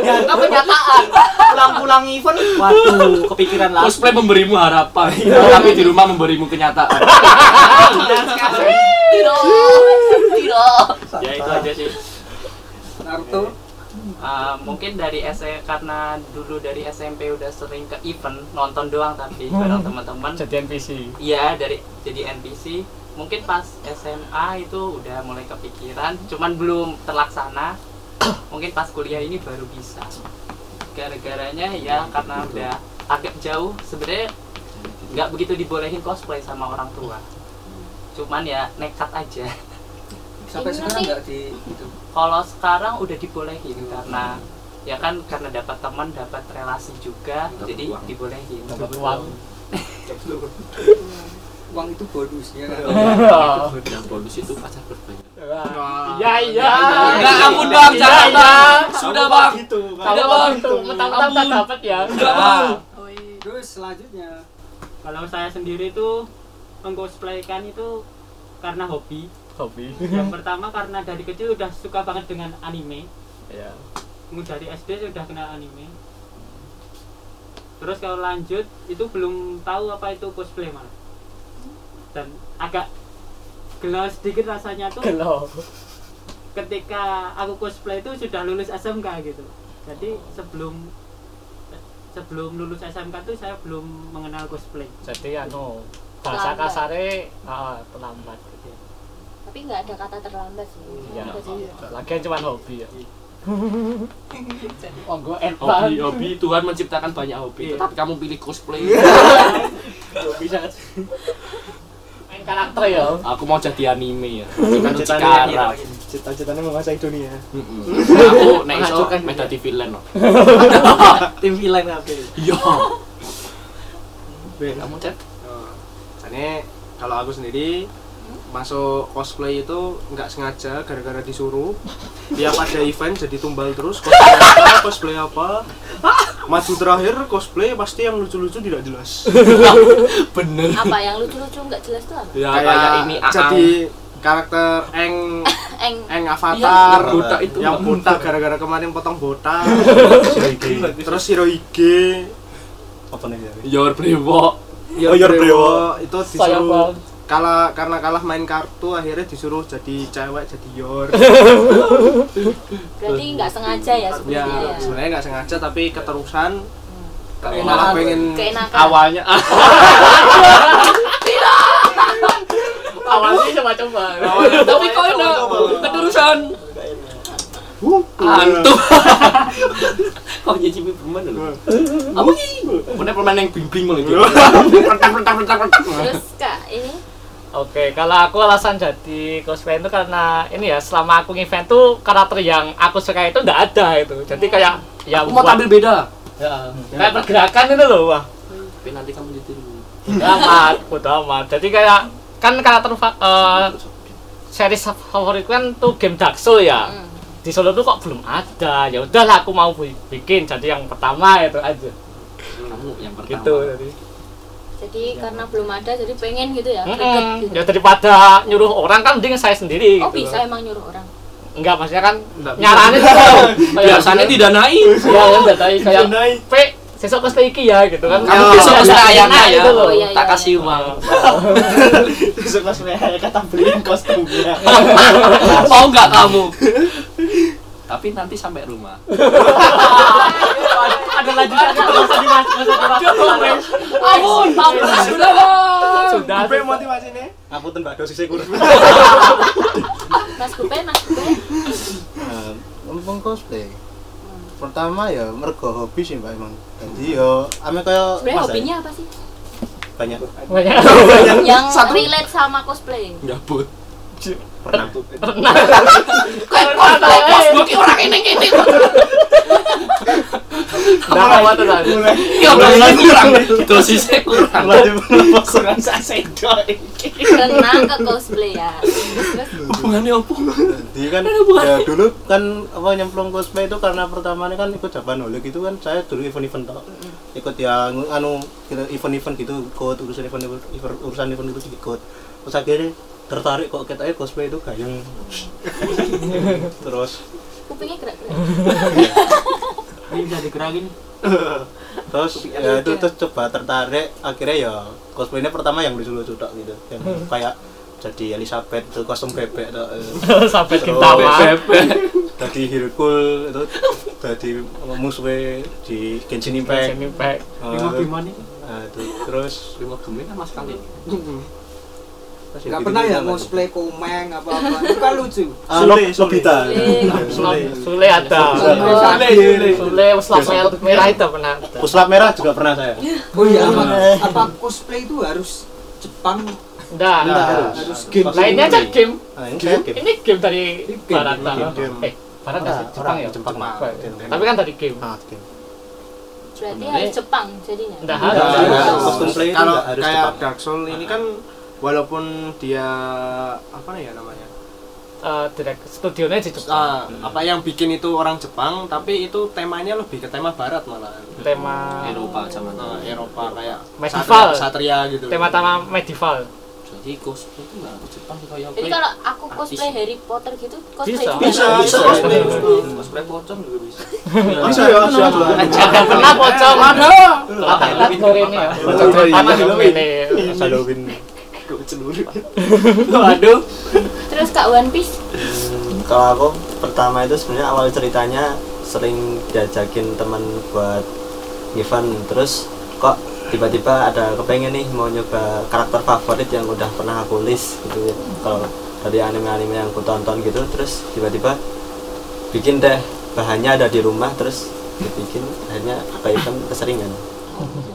S8: diantar kenyataan pulang-pulang event waduh kepikiran lagi
S3: Cosplay memberimu harapan, tapi di rumah memberimu kenyataan.
S2: Tidak, tidak.
S4: Ya itu aja
S3: Iya.
S4: sih.
S7: Naruto
S4: Ah, mungkin dari S E, karena dulu dari SMP udah sering ke event nonton doang tapi bareng teman-teman
S1: Jadi NPC.
S4: Iya dari jadi NPC mungkin pas SMA itu udah mulai kepikiran cuman belum terlaksana mungkin pas kuliah ini baru bisa gara-garanya ya karena udah agak jauh sebenarnya nggak begitu dibolehin cosplay sama orang tua cuman ya nekat aja
S7: sampai
S2: Ini
S7: sekarang
S2: nanti-
S7: nggak di itu Iya.
S4: kalau sekarang udah dibolehin karena ya kan karena dapat teman dapat relasi juga
S3: Dapat
S4: jadi
S3: uang.
S4: dibolehin
S1: Dapat uang.
S7: uang itu bonusnya kan
S3: Yang bonus itu pacar berbanyak.
S1: Ya iya.
S3: Enggak, ampun, Bang, jangan, Bang. ya, Sudah, Bang.
S1: Kalau itu mentang-mentang tak dapat ya.
S3: Enggak bang.
S7: terus selanjutnya
S10: Kalau saya sendiri itu mengcosplaykan itu karena hobi.
S1: Hobi.
S10: Yang pertama karena dari kecil udah suka banget dengan anime.
S1: Ya.
S10: Mungkin dari SD sudah kenal anime. Terus kalau lanjut itu belum tahu apa itu cosplay malah. Dan agak gelo sedikit rasanya tuh
S1: Kalau
S10: ketika aku cosplay itu sudah lulus SMK gitu jadi sebelum sebelum lulus SMK tuh saya belum mengenal cosplay
S1: jadi anu bahasa
S2: Terlambat.
S1: kasare ah, terlambat gitu.
S2: Tapi nggak ada kata terlambat sih.
S1: Iya.
S2: Udah jadi.
S1: Lagian cuma hobi ya. oh, gue
S3: Hobi,
S1: enak.
S3: hobi Tuhan menciptakan banyak hobi,
S10: Iya.
S3: tapi kamu pilih cosplay.
S1: Main karakter ya.
S3: Aku mau jadi anime ya. Bukan Cikara.
S9: Cita-citanya cita-citanya menguasai dunia.
S3: Mm-mm. Aku nek iso mek dadi villain loh.
S8: tim villain apa
S3: Iya. Kamu chat?
S5: Ini Oh. kalau aku sendiri masuk cosplay itu nggak sengaja gara-gara disuruh tiap ada event jadi tumbal terus cosplay apa cosplay apa maju terakhir cosplay pasti yang lucu-lucu tidak jelas
S3: Bener.
S2: Apa yang lucu-lucu nggak jelas tuh apa?
S5: Iya.
S3: Ya kayak ini
S5: jadi karakter eng
S2: Eng.
S5: eng
S3: Aang.
S5: avatar
S3: Iya, buta itu Iya,
S5: yang botak gara-gara kemarin potong botak terus Hirohige
S9: Apa nih? ya?
S3: Your Brewo.
S9: Oh, Yor Brewo.
S5: itu
S1: Saya
S5: disuruh kalah karena kalah main kartu akhirnya disuruh jadi cewek jadi yor
S2: Berarti nggak sengaja ya
S5: ya
S2: sebenarnya ya. Hmm.
S5: sebenarnya nggak sengaja tapi keterusan
S3: Keenakan.
S5: malah pengen
S2: Keenakan.
S5: awalnya
S1: Awalnya coba-coba.
S3: Tapi kok enak keterusan. Antu. Kok jadi permen lho. Apa ki? Punya permen yang bling-bling malah gitu. itu. Pertak pertak pertak pertak.
S2: Terus Kak ini
S1: Oke, kalau aku alasan jadi cosplay itu karena ini ya selama aku event tuh karakter yang aku suka itu nggak ada itu. Jadi kayak ya
S3: Hmm. Aku mau
S1: buat-
S3: tampil beda.
S1: ya, kayak pergerakan itu loh wah.
S3: Tapi nanti kamu ditiru.
S1: Bodo amat, bodo amat. Jadi kayak kan karakter fa- eh, series favorit kan tuh game Dark Souls ya.
S3: Hmm.
S1: Di Solo tuh kok belum ada. Ya udahlah aku mau bi- bikin. Jadi yang pertama itu aja.
S3: kamu yang pertama
S1: Gitu tadi.
S2: Jadi karena belum ada jadi pengen gitu ya. greget
S1: Mm-mm.
S2: gitu.
S1: Ya daripada nyuruh orang kan mending saya sendiri
S2: Oh
S1: gitu.
S2: bisa emang nyuruh orang.
S1: Enggak maksudnya kan
S5: Nggak bisa.
S1: nyaranin tuh. Kayak-
S3: biasanya tidak naik
S1: Ya kan tadi kayak P sesok ke Steaky ya gitu kan.
S3: kamu
S1: Ya,
S3: besok
S1: ya,
S3: pasti
S1: ya,
S3: ayana ya
S1: gitu loh.
S2: Oh, iya,
S3: tak
S2: iya,
S3: kasih
S2: iya.
S3: uang
S9: suka sebenarnya kata beliin kostumnya
S3: mau nggak kamu tapi nanti sampai rumah
S10: ada lanjutan itu nggak usah dibahas nggak usah dibahas
S3: ampun ampun sudah
S1: Sudah.
S5: Gue motivasi nih.
S9: aku tembak dosisnya kurang
S2: Mas Gupen, Mas Gupen.
S9: Nah, ngomong Eh, cosplay pertama ya mergo hobi sih mbak emang jadi yo ame kaya
S2: Sebenarnya
S9: Mas eh. Zai,
S2: hobinya apa sih?
S9: banyak
S1: Banyak.
S2: Yang relate sama cosplay.
S3: nyabut
S9: pernah
S3: pas bukti orang ini ini
S1: Nah, apa tuh tadi?
S3: ya udah kurang dosisnya kurang
S9: Mulai- mulai-
S2: Kena ke cosplay ya. Terus
S3: hubungannya apa
S9: Jadi kan ya dulu kan apa nyemplung cosplay itu karena pertamanya kan ikut Japan Holic itu kan saya dulu event-event tau. Ikut yang anu kira- event-event gitu ikut urusan event event- urusan event gitu ikut. Terus akhirnya tertarik kok katanya cosplay itu gayeng. terus
S2: kupingnya gerak-gerak.
S10: ini udah digerakin
S9: terus ya itu terus coba tertarik akhirnya ya cosplaynya pertama yang lucu-lucu tok gitu. Yang kayak jadi Elizabeth itu kostum bebek tok.
S1: Sampai
S9: Terus-
S1: Gintama.
S9: Tadi Herkul itu tadi musuhnya di Genshin Impact.
S1: Ini Pak.
S9: Ah,
S10: lima gimana nih
S9: ah, itu. terus
S3: lima gemen sama sekali
S9: terus
S7: Gak
S9: gitu-gitu
S7: pernah ya
S9: sama.
S7: cosplay komeng apa-apa. Itu kan lucu.
S9: Ah, Sule,
S5: Sule,
S9: Lobita.
S1: Sule. Sule ada.
S7: Sule, Sule.
S1: Sule selap mer- merah itu pernah. ada.
S9: Puslap merah juga pernah saya.
S7: Oh iya, apa, apa cosplay itu harus Jepang
S1: Enggak.
S9: Nah,
S7: harus game.
S1: Lainnya aja game.
S9: Ah, ini saya game.
S1: Ini game dari Barat.
S9: game, game.
S1: Eh, Barat nggak sih? Jepang
S9: Orang,
S1: ya?
S9: Jepang. Jepang.
S1: Tapi kan dari game.
S9: Ah, game.
S2: Berarti harus Jepang jadinya.
S1: Enggak
S9: Nggak
S1: harus.
S9: harus.
S5: Harus.
S9: Custom play itu
S5: kalau
S9: nggak harus
S5: kayak
S9: Jepang.
S5: Dark Souls ini kan walaupun dia apa ya namanya
S1: Eh, direct studionya di Jepang.
S5: Ah, apa yang bikin itu orang Jepang tapi itu temanya lebih ke tema Barat malah
S1: Tema
S3: Eropa zaman
S9: Ah,
S5: Nah,
S3: dulu
S5: Eropa kayak
S1: Medieval.
S5: satria, satria gitu
S1: tema-tema medieval.
S3: jadi cosplay itu nggak ke Jepang sih kayak
S2: Jadi kalau aku cosplay Harry Potter gitu, cosplay
S1: Bisa.
S2: juga.
S5: bisa bisa
S9: Bisa.
S5: cosplay
S3: cosplay pocong juga bisa
S9: Bisa ya, siap, siap.
S1: Jangan pernah pocong. Aduh. Kategori ini ya. Pocong
S9: Oh, iya.
S1: tanah dulu ini.
S9: Pas Halloween.
S1: Waduh.
S2: Terus Kak One Piece
S8: kalau aku pertama itu sebenarnya awal ceritanya sering diajakin teman buat event terus kok tiba-tiba ada kepengen nih mau nyoba karakter favorit yang udah pernah aku list gitu ya. kalau dari anime-anime yang aku tonton gitu terus tiba-tiba bikin deh bahannya ada di rumah terus dibikin akhirnya ke event keseringan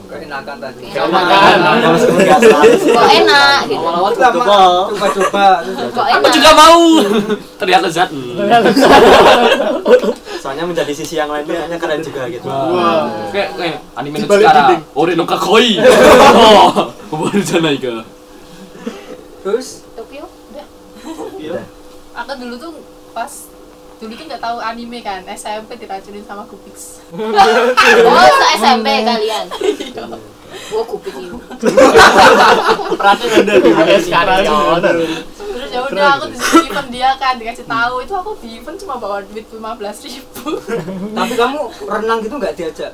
S7: Keenakan tadi.
S1: Makan.
S8: Meskipun nggak selalu sih.
S2: kok enak gitu.
S8: awal-awal
S7: Pertama, coba-coba.
S2: Kok
S3: aku
S2: enak.
S3: juga mau terlihat lezat
S8: soalnya menjadi sisi yang lainnya kayaknya keren juga gitu
S3: kayak kayak anime
S9: Dibalik
S3: sekarang
S9: dinding.
S3: ore no kakoi oh baru sana iga
S7: Terus
S2: Tokyo.
S8: Udah.
S6: Aku dulu tuh pas dulu tuh nggak tahu anime kan SMP diracunin sama Kupix
S2: Oh, se SMP kalian.
S6: Iya.
S2: Oh, Gua kupik ini.
S1: Ada sekalian.
S6: terus ya udah aku disuruh event dia kan dikasih tahu itu aku di event cuma bawa duit 15.000 ribu
S7: Tapi kamu renang gitu nggak diajak?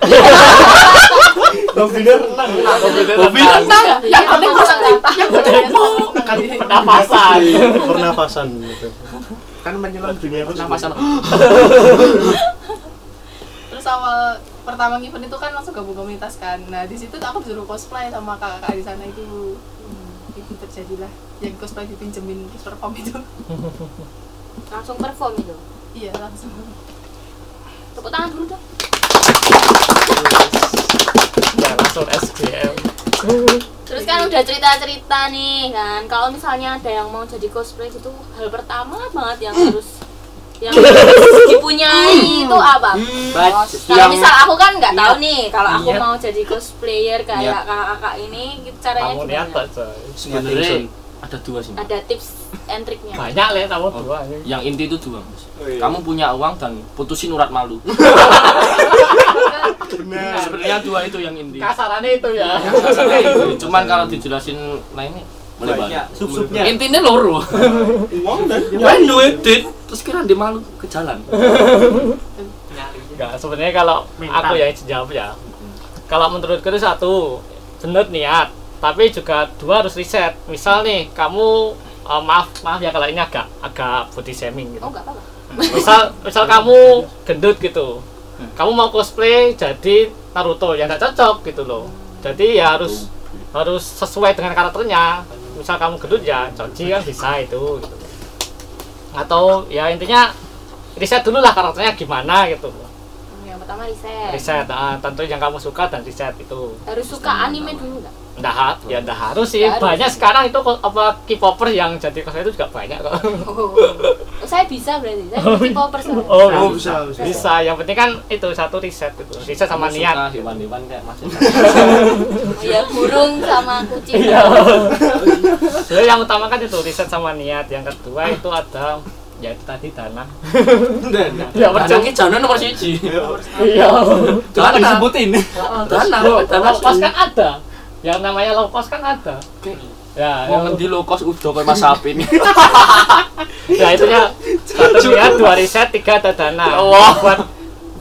S7: Nah,
S1: Bobi
S6: yang penting
S2: Iya,
S6: kosan
S2: masalah.
S6: yang penting kosan
S1: pernapasan.
S9: Pernapasan gitu.
S5: kan menyelam dunia itu
S3: nama sana
S6: terus awal pertama event itu kan langsung gabung komunitas kan nah di situ aku disuruh cosplay sama kakak di sana itu
S2: Hmm.
S6: itu terjadilah yang cosplay dipinjemin terus perform itu
S2: Langsung perform itu.
S6: iya langsung
S2: Tepuk tangan dulu dong.
S1: Ya langsung SBM.
S2: Terus kan udah cerita-cerita nih kan. Kalau misalnya ada yang mau jadi cosplay gitu, hal pertama banget yang harus yang harus dipunyai itu apa? Bos. Kalau
S3: yang-
S2: misal aku kan nggak
S1: Iya.
S2: tahu nih kalau aku mau jadi cosplayer kayak kakak-kakak ini gitu, caranya
S1: Kamu niat
S2: gimana?
S1: tak coy.
S3: sebenarnya ada dua sih Mas.
S2: Ada tips and triknya.
S1: Banyak lah kamu
S3: Oh,
S1: dua. ini.
S3: yang inti itu dua Mas.
S7: iya.
S3: kamu punya uang dan putusin urat malu sebenarnya dua itu yang inti
S1: Kasarannya itu ya.
S3: cuman kalau dijelasin lainnya boleh banyak
S7: sup-supnya
S3: intinya loro
S9: uang dan
S3: main duit duit terus kira dia malu ke jalan
S1: Enggak, Ya, sebenarnya kalau
S4: Mental.
S1: aku yang jawab ya. Kalau menurutku itu satu, benar niat, tapi juga dua harus riset. Misal nih, kamu eh, maaf maaf ya kalau ini agak agak body shaming gitu.
S2: Oh, enggak apa-apa.
S1: Misal misal kamu gendut gitu. Kamu mau cosplay jadi Naruto yang nggak cocok gitu loh. Jadi ya harus harus sesuai dengan karakternya. Misal kamu gendut ya Choji kan bisa itu gitu. Atau ya intinya riset dulu lah karakternya gimana gitu
S2: Hmm, Yang pertama riset.
S1: riset ah, tentu yang kamu suka dan riset itu
S2: Harus suka anime dulu enggak?
S1: ndah ha- ya ndah harus sih
S2: Nggak harus.
S1: banyak sekarang itu kok- apa K-popper yang jadi cosplay itu juga banyak kok
S2: Oh. Oh, saya bisa berarti. Saya K-popers.
S1: oh,
S3: Oh,
S1: bisa,
S3: bisa,
S1: bisa yang penting kan itu satu riset itu riset sama
S3: Kamu
S1: niat
S3: suka hewan-hewan kayak masih
S2: Ya burung sama kucing.
S1: iya jadi yang utama kan itu riset sama niat yang kedua itu ada ya itu tadi dana ya percuma
S3: Anaknya jalan nomor siji
S1: iya
S3: Jangan disebutin Dana
S1: Loh,
S3: Dana
S1: low cost kan ada yang namanya low cost kan ada ya
S3: Mau
S1: yang-
S3: ngendi low cost udah kayak mas sapi nih
S1: ya itu ya satu niat dua riset tiga ada dana
S3: Ya
S1: buat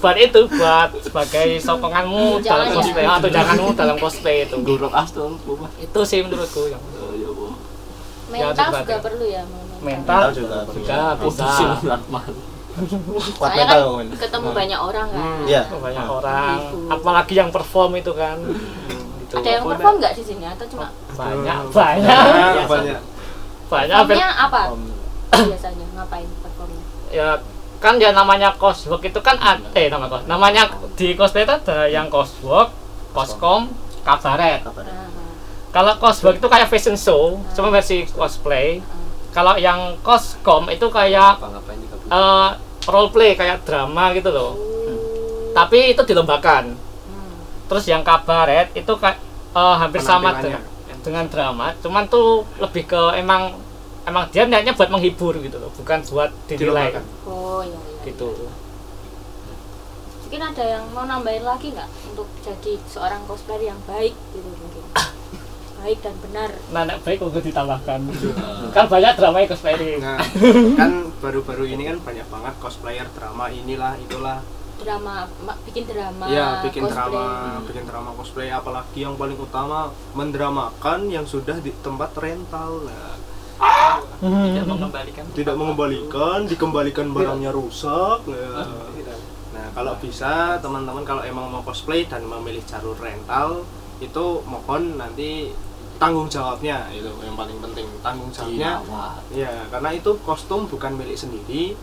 S1: buat itu buat sebagai sokonganmu
S2: Jangan
S1: dalam
S2: ya.
S1: cosplay Ah, atau janganmu dalam cosplay itu
S3: Gorong astol Bapak.
S1: itu sih menurutku yang
S3: Oh, ya Allah.
S2: Mental
S1: Ya,
S2: juga
S1: juga.
S2: perlu ya. mental.
S1: mental
S9: juga
S1: juga bisa
S3: Putusin urat malu
S9: kuat
S2: Soalnya
S9: mental
S2: kan
S9: komen
S2: ketemu
S1: Hmm.
S2: banyak orang kan. Gitu.
S9: Iya.
S1: banyak orang apalagi yang perform itu kan Gitu.
S2: Ada yang perform nggak di sini atau cuma
S1: banyak Iya, banyak
S5: banyak
S1: banyak
S2: performnya
S1: hampir-
S2: apa? Biasanya ngapain performnya?
S1: ya kan ya namanya coswork itu kan ada eh, nama cos namanya di cosplay itu ada yang coswork coscom kabaret
S2: Ah.
S1: Kalau cosplay itu kayak fashion show, cuma versi cosplay. Kalau yang coscom itu kayak
S3: Apa ngapain juga Bu?
S1: eh, role play, kayak drama gitu loh. Tapi itu dilombakan. Terus yang kabaret itu kayak eh, hampir sama dengan, dengan drama, cuman tuh lebih ke emang emang dia niatnya buat menghibur gitu loh, bukan buat dinilai
S5: Dilombakan.
S2: Oh iya. iya.
S1: gitu.
S2: Mungkin ada yang mau nambahin lagi nggak untuk jadi seorang cosplayer yang baik gitu mungkin. baik dan benar.
S1: Nah, nek baik untuk ditambahkan. kan banyak drama yang cosplay ini.
S5: Nah, kan baru-baru ini kan banyak banget cosplayer drama inilah itulah
S2: Drama ma- bikin drama.
S5: ya bikin
S2: cosplay. gitu.
S5: drama bikin drama cosplay apalagi yang paling utama mendramakan yang sudah di tempat rental nah,
S1: Hmm.
S4: tidak mengembalikan
S5: tidak mengembalikan dikembalikan barangnya rusak nah,
S2: Ah,
S5: nah kalau bisa teman-teman kalau emang mau cosplay dan memilih jalur rental itu mohon nanti tanggung jawabnya itu yang paling penting tanggung jawabnya
S2: Iya,
S3: Dirawat.
S5: Ya, karena itu kostum bukan milik sendiri.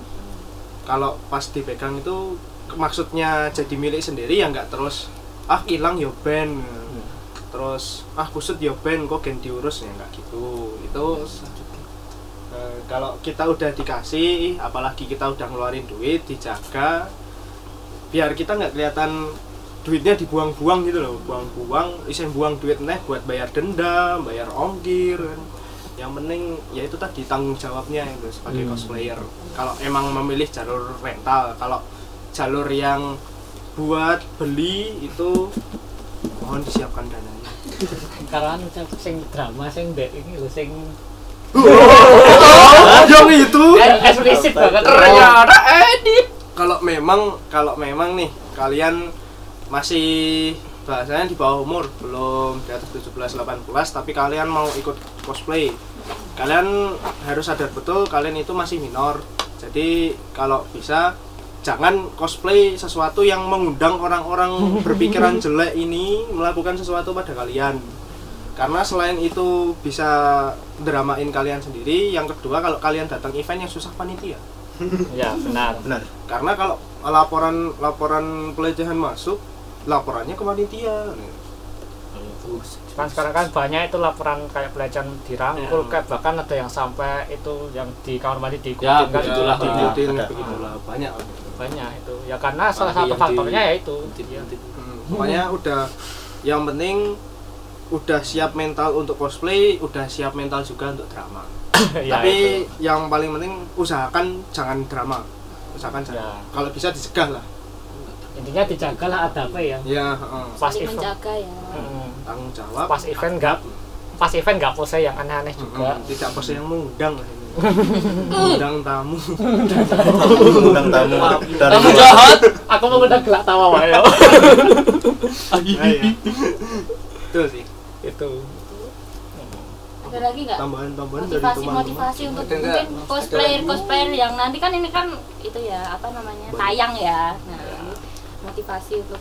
S5: Kalau pas dipegang itu maksudnya jadi milik sendiri ya nggak terus ah hilang yo ben. Terus ah kusut yo ben kok gen diurus ya nggak gitu. Itu eh, kalau kita udah dikasih, apalagi kita udah ngeluarin duit, dijaga biar kita nggak kelihatan duitnya dibuang-buang gitu loh, buang-buang, isen buang duit neh buat bayar denda, bayar ongkir. kan. Yang penting ya itu tadi tanggung jawabnya itu sebagai cosplayer. Kalau emang memilih jalur rental, kalau jalur yang buat beli itu mohon disiapkan dananya.
S1: Karena anu, sing drama sing ndek ini lho sing Oh,
S5: yang itu
S1: Dan eksplisit banget.
S3: Oh.
S1: ya,
S5: ternyata
S1: eh.
S5: edit kalau memang kalau memang nih kalian masih bahasanya di bawah umur belum di atas 17 18 tapi kalian mau ikut cosplay kalian harus sadar betul kalian itu masih minor jadi kalau bisa jangan cosplay sesuatu yang mengundang orang-orang berpikiran jelek ini melakukan sesuatu pada kalian karena selain itu bisa dramain kalian sendiri yang kedua kalau kalian datang event yang susah panitia
S1: Ya, benar.
S9: benar
S5: karena kalau laporan laporan pelecehan masuk laporannya ke panitia
S1: Kan sekarang kan banyak itu laporan kayak pelecehan dirangkul,
S5: Ya.
S1: kayak bahkan ada yang sampai itu yang di kamar mandi diikutin
S3: Ya,
S1: kan
S3: begitulah.
S1: Itu
S3: Ada,
S5: Diikutin,
S9: ada.
S5: begitulah banyak
S1: banyak itu. Ya karena salah
S3: Apalagi
S1: satu ya
S3: yang di-
S1: faktornya ya itu.
S3: Nanti-
S1: Ya.
S3: nanti.
S5: Hmm, pokoknya udah yang penting udah siap mental untuk cosplay, udah siap mental juga untuk drama.
S1: Ya,
S5: Tapi
S1: itu.
S5: yang paling penting usahakan jangan drama. Usahakan jangan.
S1: Ya.
S5: Kalau bisa dicegah lah.
S1: intinya dijagalah adabnya ya
S5: Ya, heeh.
S1: pas
S2: saling
S1: event
S2: menjaga ya
S1: Mm.
S5: tanggung jawab.
S1: pas event nggak pas event nggak pose yang aneh-aneh juga
S5: Mm-mm. tidak pose yang mengundang lah ini. mengundang tamu.
S9: undang tamu dari
S1: kamu
S9: luar.
S1: jahat aku mau udah gelak tawa ya. wae yo.
S5: Nah, ya. Betul sih.
S1: itu
S2: ada lagi nggak
S5: Tambahan-tambahan dari
S2: motivasi
S5: teman-teman.
S2: motivasi untuk
S7: Ada nggak?
S2: mungkin
S7: Ada
S2: cosplayer
S7: lagi.
S2: cosplayer yang nanti kan ini kan itu ya apa namanya tayang ya nah ini motivasi untuk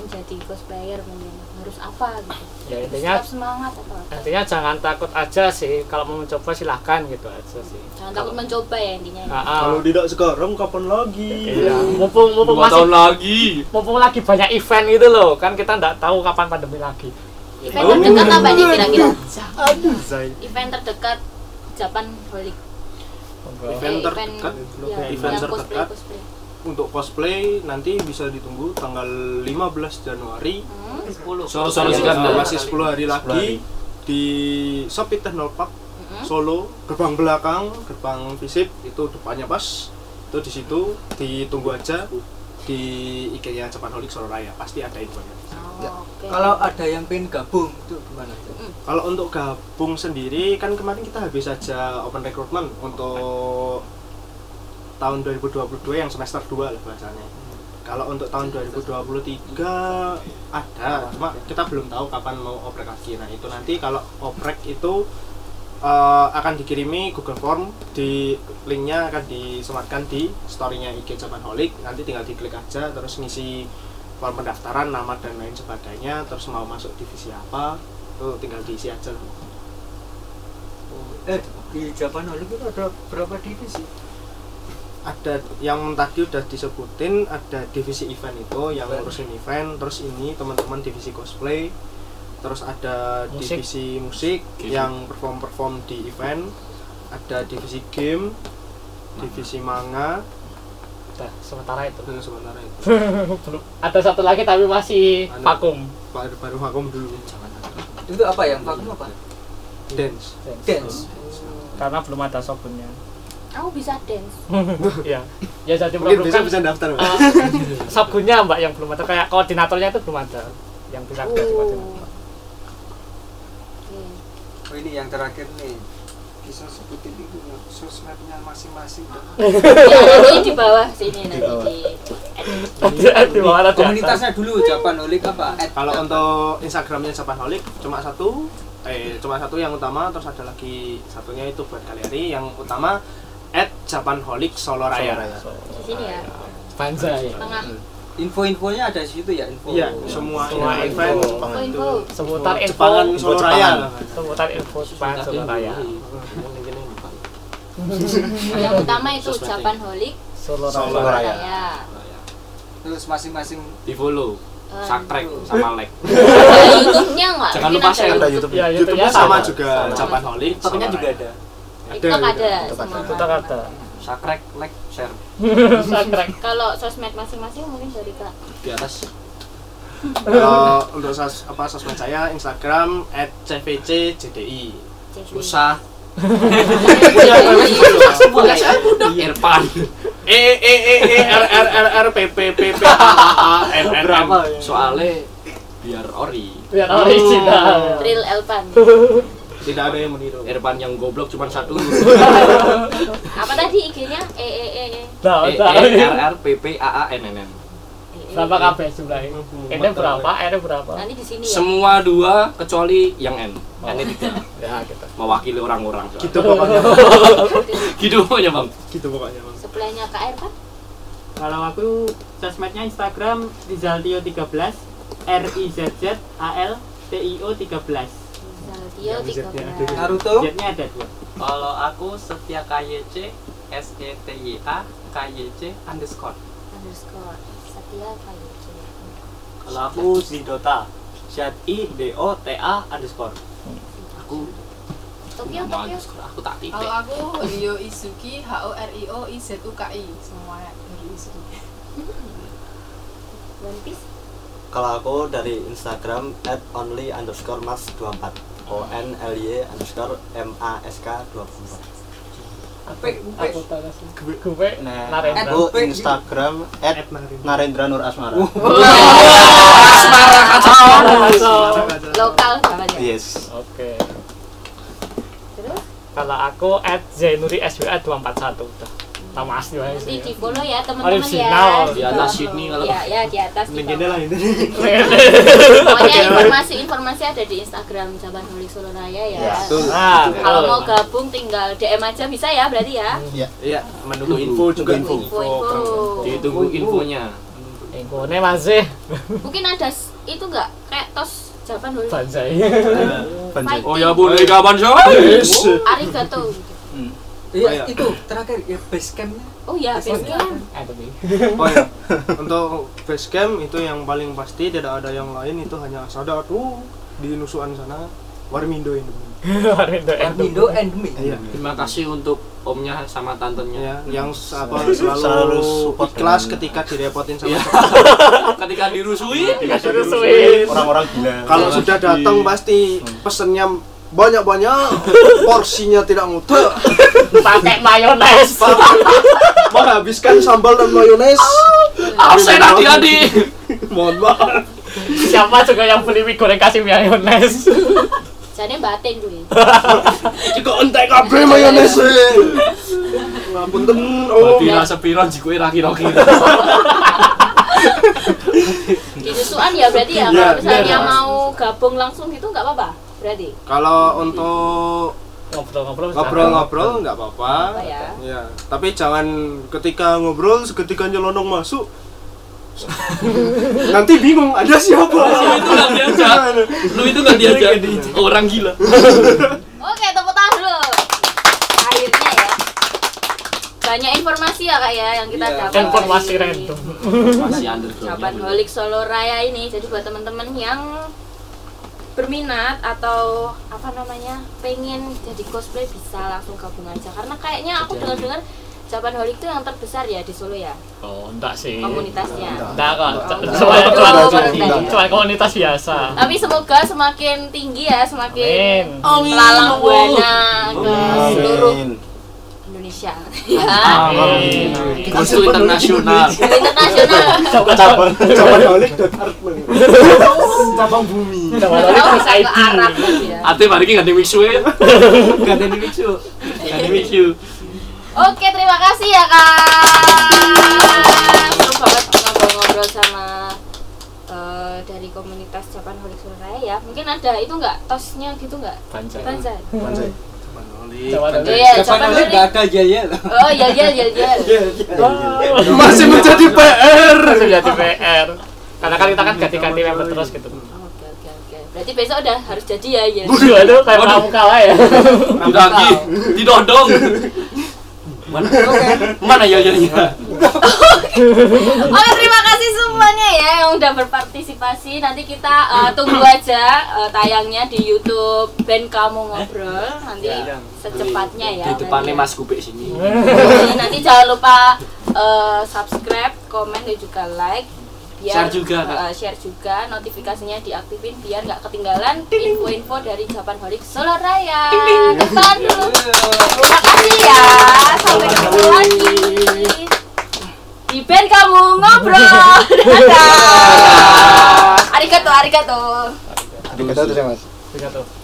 S2: menjadi cosplayer mungkin harus apa gitu
S1: ya intinya
S2: tetap semangat atau apa
S1: intinya jangan takut aja sih kalau mau mencoba silahkan gitu aja sih
S2: jangan takut mencoba ya intinya ya.
S1: Ah, ah.
S5: Kalau tidak sekarang kapan lagi?
S1: Iya, mumpung mumpung
S3: Lima tahun
S1: masih
S3: lagi.
S1: mumpung lagi banyak event gitu loh, kan kita nggak tahu kapan pandemi lagi.
S2: event terdekat apa ini kira-kira
S5: Iya. Aduh, Zai.
S2: event terdekat Japan Holic
S5: Event
S2: Eh,
S5: terdekat,
S7: Iya,
S2: ya,
S5: event
S2: yang cosplay
S5: terdekat
S2: cosplay
S5: untuk cosplay nanti bisa ditunggu tanggal 15 Januari
S2: Hmm,
S4: 10.
S3: Sore-sore
S5: Masih
S3: sekian dah.
S5: ada- masih 10 hari
S9: 10 hari.
S5: lagi di Shopee Technopark
S2: hmm.
S5: Solo gerbang belakang gerbang visip itu depannya pas itu di situ ditunggu aja di IG-nya Japan Holic Solo Raya pasti ada infonya
S2: Oh, oke.
S7: Kalau ada yang pengen gabung itu gimana?
S5: kalau untuk gabung sendiri kan kemarin kita habis aja open recruitment untuk tahun 2022 yang semester 2 lah bahasanya kalau untuk tahun 2023 ada cuma kita belum tahu kapan mau oprek lagi nah itu nanti kalau oprek itu eh, akan dikirimi Google Form di linknya akan disematkan di storynya IG Japan Holic nanti tinggal diklik aja terus ngisi form pendaftaran nama dan lain sebagainya terus mau masuk divisi apa tuh Oh, tinggal diisi aja lah.
S7: Eh di Japan Holic itu ada berapa divisi?
S5: ada yang tadi udah disebutin ada divisi event itu yang ngurusin event terus ini teman-teman divisi cosplay terus ada
S1: Musik.
S5: divisi musik
S3: Game.
S5: yang perform perform di event ada divisi game divisi manga
S1: Udah, sementara itu.
S5: dan sementara Nah, itu
S1: Belum. Ada satu lagi tapi masih
S5: Ada.
S1: vakum.
S5: baru baru vakum dulu
S7: Itu apa yang vakum apa?
S5: dance
S7: Dance.
S1: Karena belum ada sobunnya.
S2: Aku bisa dance.
S1: ya. Ya jadi
S5: mungkin
S1: problem kan
S5: besok bisa daftar Mbak.
S1: sobunnya Mbak yang belum ada kayak koordinatornya itu belum ada yang bisa
S2: Oh.
S1: ganti
S2: Oke.
S1: koordinator.
S2: Hmm.
S7: Oh, ini yang terakhir nih. Bisa sebutin itu sosmednya masing-masing.
S2: Ya, nanti di bawah sini nanti
S9: bawah.
S2: di
S1: Di- di bawah ada di atas.
S7: Komunitasnya dulu Japan Holic apa? At-
S5: kalau untuk instagramnya Japan Holic cuma satu eh cuma satu yang utama terus ada lagi satunya itu buat galeri yang utama at Japan Holic Solo Raya.
S2: di sini ya.
S1: Banza ya.
S2: Tengah
S7: info-infonya ada di situ ya info.
S5: Iya, semua
S1: Semua
S5: event,
S1: info.
S2: info
S5: itu
S2: Oh, info.
S1: Seputar info
S5: Jepangan Solo Raya.
S9: Jepangan.
S1: seputar info Jepang Solo Raya. Hmm.
S2: Yang utama itu ya.
S3: Sesuatu.
S2: Japan Holic
S1: Solo
S9: Solo
S1: Raya.
S9: Raya.
S2: Raya.
S7: Terus masing-masing
S5: Oh,
S3: Di follow.
S2: Eh,
S3: Subscribe sama like.
S2: Ada YouTube-nya nggak?
S3: Jangan
S2: Mungkin
S3: lupa share
S9: ada
S2: ada
S9: YouTube
S1: Ya, itu
S5: YouTube-nya
S1: sama.
S5: sama juga
S3: Sama.
S5: Japan Holic.
S7: tiketnya
S5: Solo
S7: juga
S5: Raya.
S7: ada.
S2: TikTok ada.
S9: TikTok ada.
S2: semua.
S1: Itu Jakarta.
S3: Subscribe, like, share.
S1: Sakrek.
S2: Kalau sosmed masing-masing mungkin dari Kak.
S3: Di atas.
S5: Kalau untuk sos, apa sosmed saya Instagram @cvcjdi.
S2: CV.
S3: Susah.
S2: Boleh.
S3: Irfan.
S5: E E E E R R R R P P P P A A A N N M.
S3: Soalnya biar ori.
S1: Biar original.
S2: Real Elpan.
S5: Tidak ada yang meniru.
S3: Irfan yang goblok cuma satu.
S2: Apa tadi IG-nya? E E E E.
S1: Nah,
S3: E
S1: nah.
S3: E R R P P A A N N N.
S2: E.
S1: Berapa kabeh jumlahnya? Ini berapa? Ini berapa?
S2: Nanti di sini ya.
S3: Semua dua kecuali yang N. N tiga.
S1: Ya, gitu.
S3: Mewakili orang-orang.
S5: Gitu pokoknya.
S3: Gitu pokoknya bang.
S5: Gitu pokoknya. Bang.
S2: Sebelahnya Kak Erpan.
S10: Kalau aku sosmednya Instagram Rizaltio13 R I Z Z A L T I O 13.
S2: Zaltio
S5: wizardnya ada
S2: 13.
S7: Naruto.
S10: Z-nya ada dua.
S4: Kalau aku setia KYC S E T Y A KYC underscore.
S2: underscore Setia Kayuki.
S4: Kalau aku di Dota Z I D O T A underscore.
S3: Aku
S2: Tokyo
S3: mau
S2: Tokyo
S3: underscore, aku tak titik.
S6: Kalau aku Rio Izuki H O R I O I Z U K I semua Rio Izuki.
S2: Hmm. One Piece
S8: kalau aku dari Instagram at only underscore mas 24 O N L Y underscore M A S K 24
S1: Aku gue gue
S9: Nah,
S1: Narendra.
S9: aku Instagram at Narendra Nur Asmara.
S1: Asmara kacau.
S2: Oh. lokal jawabannya
S1: Iya,
S9: Yes.
S1: Oke.
S2: terus
S1: Kalau aku at Zainuri SWA 241 udah. Nama asli aja
S2: nanti di
S1: sih.
S2: follow ya teman-teman ya
S1: Original.
S3: Di atas Sydney kalau-
S2: ya ya di atas di bawah. pokoknya
S1: Pokoknya
S2: informasi informasi ada di Instagram Jabar Nulis Solo Raya ya
S1: Nah,
S2: kalau mau gabung tinggal DM aja bisa ya berarti ya
S5: Iya, menunggu info juga info.
S2: info-info
S3: ditunggu infonya
S1: Ingkone masih
S2: mungkin ada s- itu nggak kayak tos Japan dulu
S1: banzai.
S9: Panjang.
S3: oh ya boleh kapan guys
S2: arigato
S7: Iya, itu terakhir ya base campnya.
S2: oh ya basecamp
S1: Ada nih.
S5: Oh ya. Untuk basecamp itu yang paling pasti tidak ada yang lain itu hanya sadar tuh di nusuan sana Warmindo Indomie.
S1: Warmindo Endo.
S7: Warmindo and me.
S5: Iya.
S3: terima kasih untuk omnya sama tantenya
S5: Ya, yang
S3: Iya.
S5: s- apa
S9: Selalu
S5: selalu
S9: support
S5: ikhlas
S9: dengan-
S5: ketika direpotin sama
S3: Iya.
S5: sekolah.
S3: ketika
S5: Iya,
S3: dirusui
S1: Terus wih.
S9: Orang-orang gila.
S5: Kalau
S3: Iya.
S5: sudah datang pasti pesennya banyak-banyak, porsinya tidak ngutek,
S1: pakai mayones.
S5: menghabiskan sambal dan mayones.
S9: Ah,
S3: absen hati-hati
S5: Mohon maaf.
S1: Siapa juga yang beli mie goreng kasih mayones?
S2: jadi batin gue
S5: Jika entek kabeh mayones. Ngapunten. Oh.
S3: Badi rasa piron jikwe raki-raki
S2: di nusuan ya berarti ya
S5: Iya,
S2: kalau misalnya
S5: iya.
S2: mau gabung langsung gitu nggak apa-apa berarti
S5: Kalau untuk
S1: Ngobrol-ngobrol.
S5: ngobrol-ngobrol nggak apa-apa.
S2: Nggak apa-apa
S5: Ya, tapi jangan ketika ngobrol seketika nyelonong masuk nanti bingung ada siapa
S3: itu nggak diajak lu itu nggak diajak orang gila
S2: Oke, tepuk tangan dulu. Akhirnya ya. Banyak informasi ya kak ya yang kita
S7: Iya.
S2: dapat.
S1: Informasi
S2: dari
S1: random.
S3: masih
S2: Jawaban
S3: underground
S2: Holik Solo Raya ini. Jadi buat teman-teman yang berminat atau apa namanya pengen jadi cosplay bisa langsung gabung aja karena kayaknya aku
S1: Iya.
S2: dengar-dengar Japan Holik itu yang terbesar ya di Solo ya
S1: Oh, enggak sih.
S2: komunitasnya.
S1: Enggak kok. C- Cuma cuma
S2: Enggak, enggak, enggak.
S1: cuma komunitas biasa.
S2: Tapi semoga semakin tinggi ya semakin
S1: Amin.
S2: melalang buana ke seluruh
S9: Amin.
S2: Indonesia. Ya.
S1: Amin.
S3: Kursu Iya. internasional
S2: internasional
S1: Coba coba.
S5: Jawaban balik dan art balik. cabang bumi
S1: Coba
S2: Kalau
S1: lagi
S2: bisa Oh, ke Arab lagi ya.
S3: Ate mari ki gandeng mixu ya.
S7: Gandeng lucu.
S3: Gandeng mixu.
S2: Oke terima kasih ya kak. Seru banget ngobrol-ngobrol sama eh, dari komunitas Japan Holik Surabaya ya. Mungkin ada itu nggak tosnya gitu nggak?
S1: Banjai.
S2: Banzai.
S9: Panjang.
S1: Coba lagi.
S2: Iya
S7: Kapan
S2: Japan
S7: oleh
S2: Holik.
S7: nggak ada ya ya lah.
S2: Oh ya ya ya ya.
S5: masih menjadi PR
S1: Terus jadi PR. Karena kan kita kan ganti-ganti member terus gitu.
S2: Oke oke oke. Berarti besok udah harus jadi ya ya.
S1: Waduh, itu kayak kamu kalah ya.
S3: Didagi, didodong. Mana? Mana ya ya ya.
S2: Oke Oh, terima kasih semuanya ya yang udah berpartisipasi. Nanti kita eh, tunggu aja eh, tayangnya di YouTube Band Kamu Ngobrol nanti secepatnya ya.
S3: Di depannya
S2: nanti.
S3: Mas Kupik sini.
S2: Jadi nanti jangan lupa eh, subscribe, komen dan juga like.
S3: Share juga,
S2: eh,
S3: Kak.
S2: share juga, notifikasinya diaktifin biar nggak ketinggalan info-info dari Japan Holik Solo Raya. Depan dulu. Terima kasih ya. Sampai ketemu lagi di band kamu ngobrol. Dadah. Arigato, arigato.
S9: Kita terima kasih.
S1: Tiga tuh.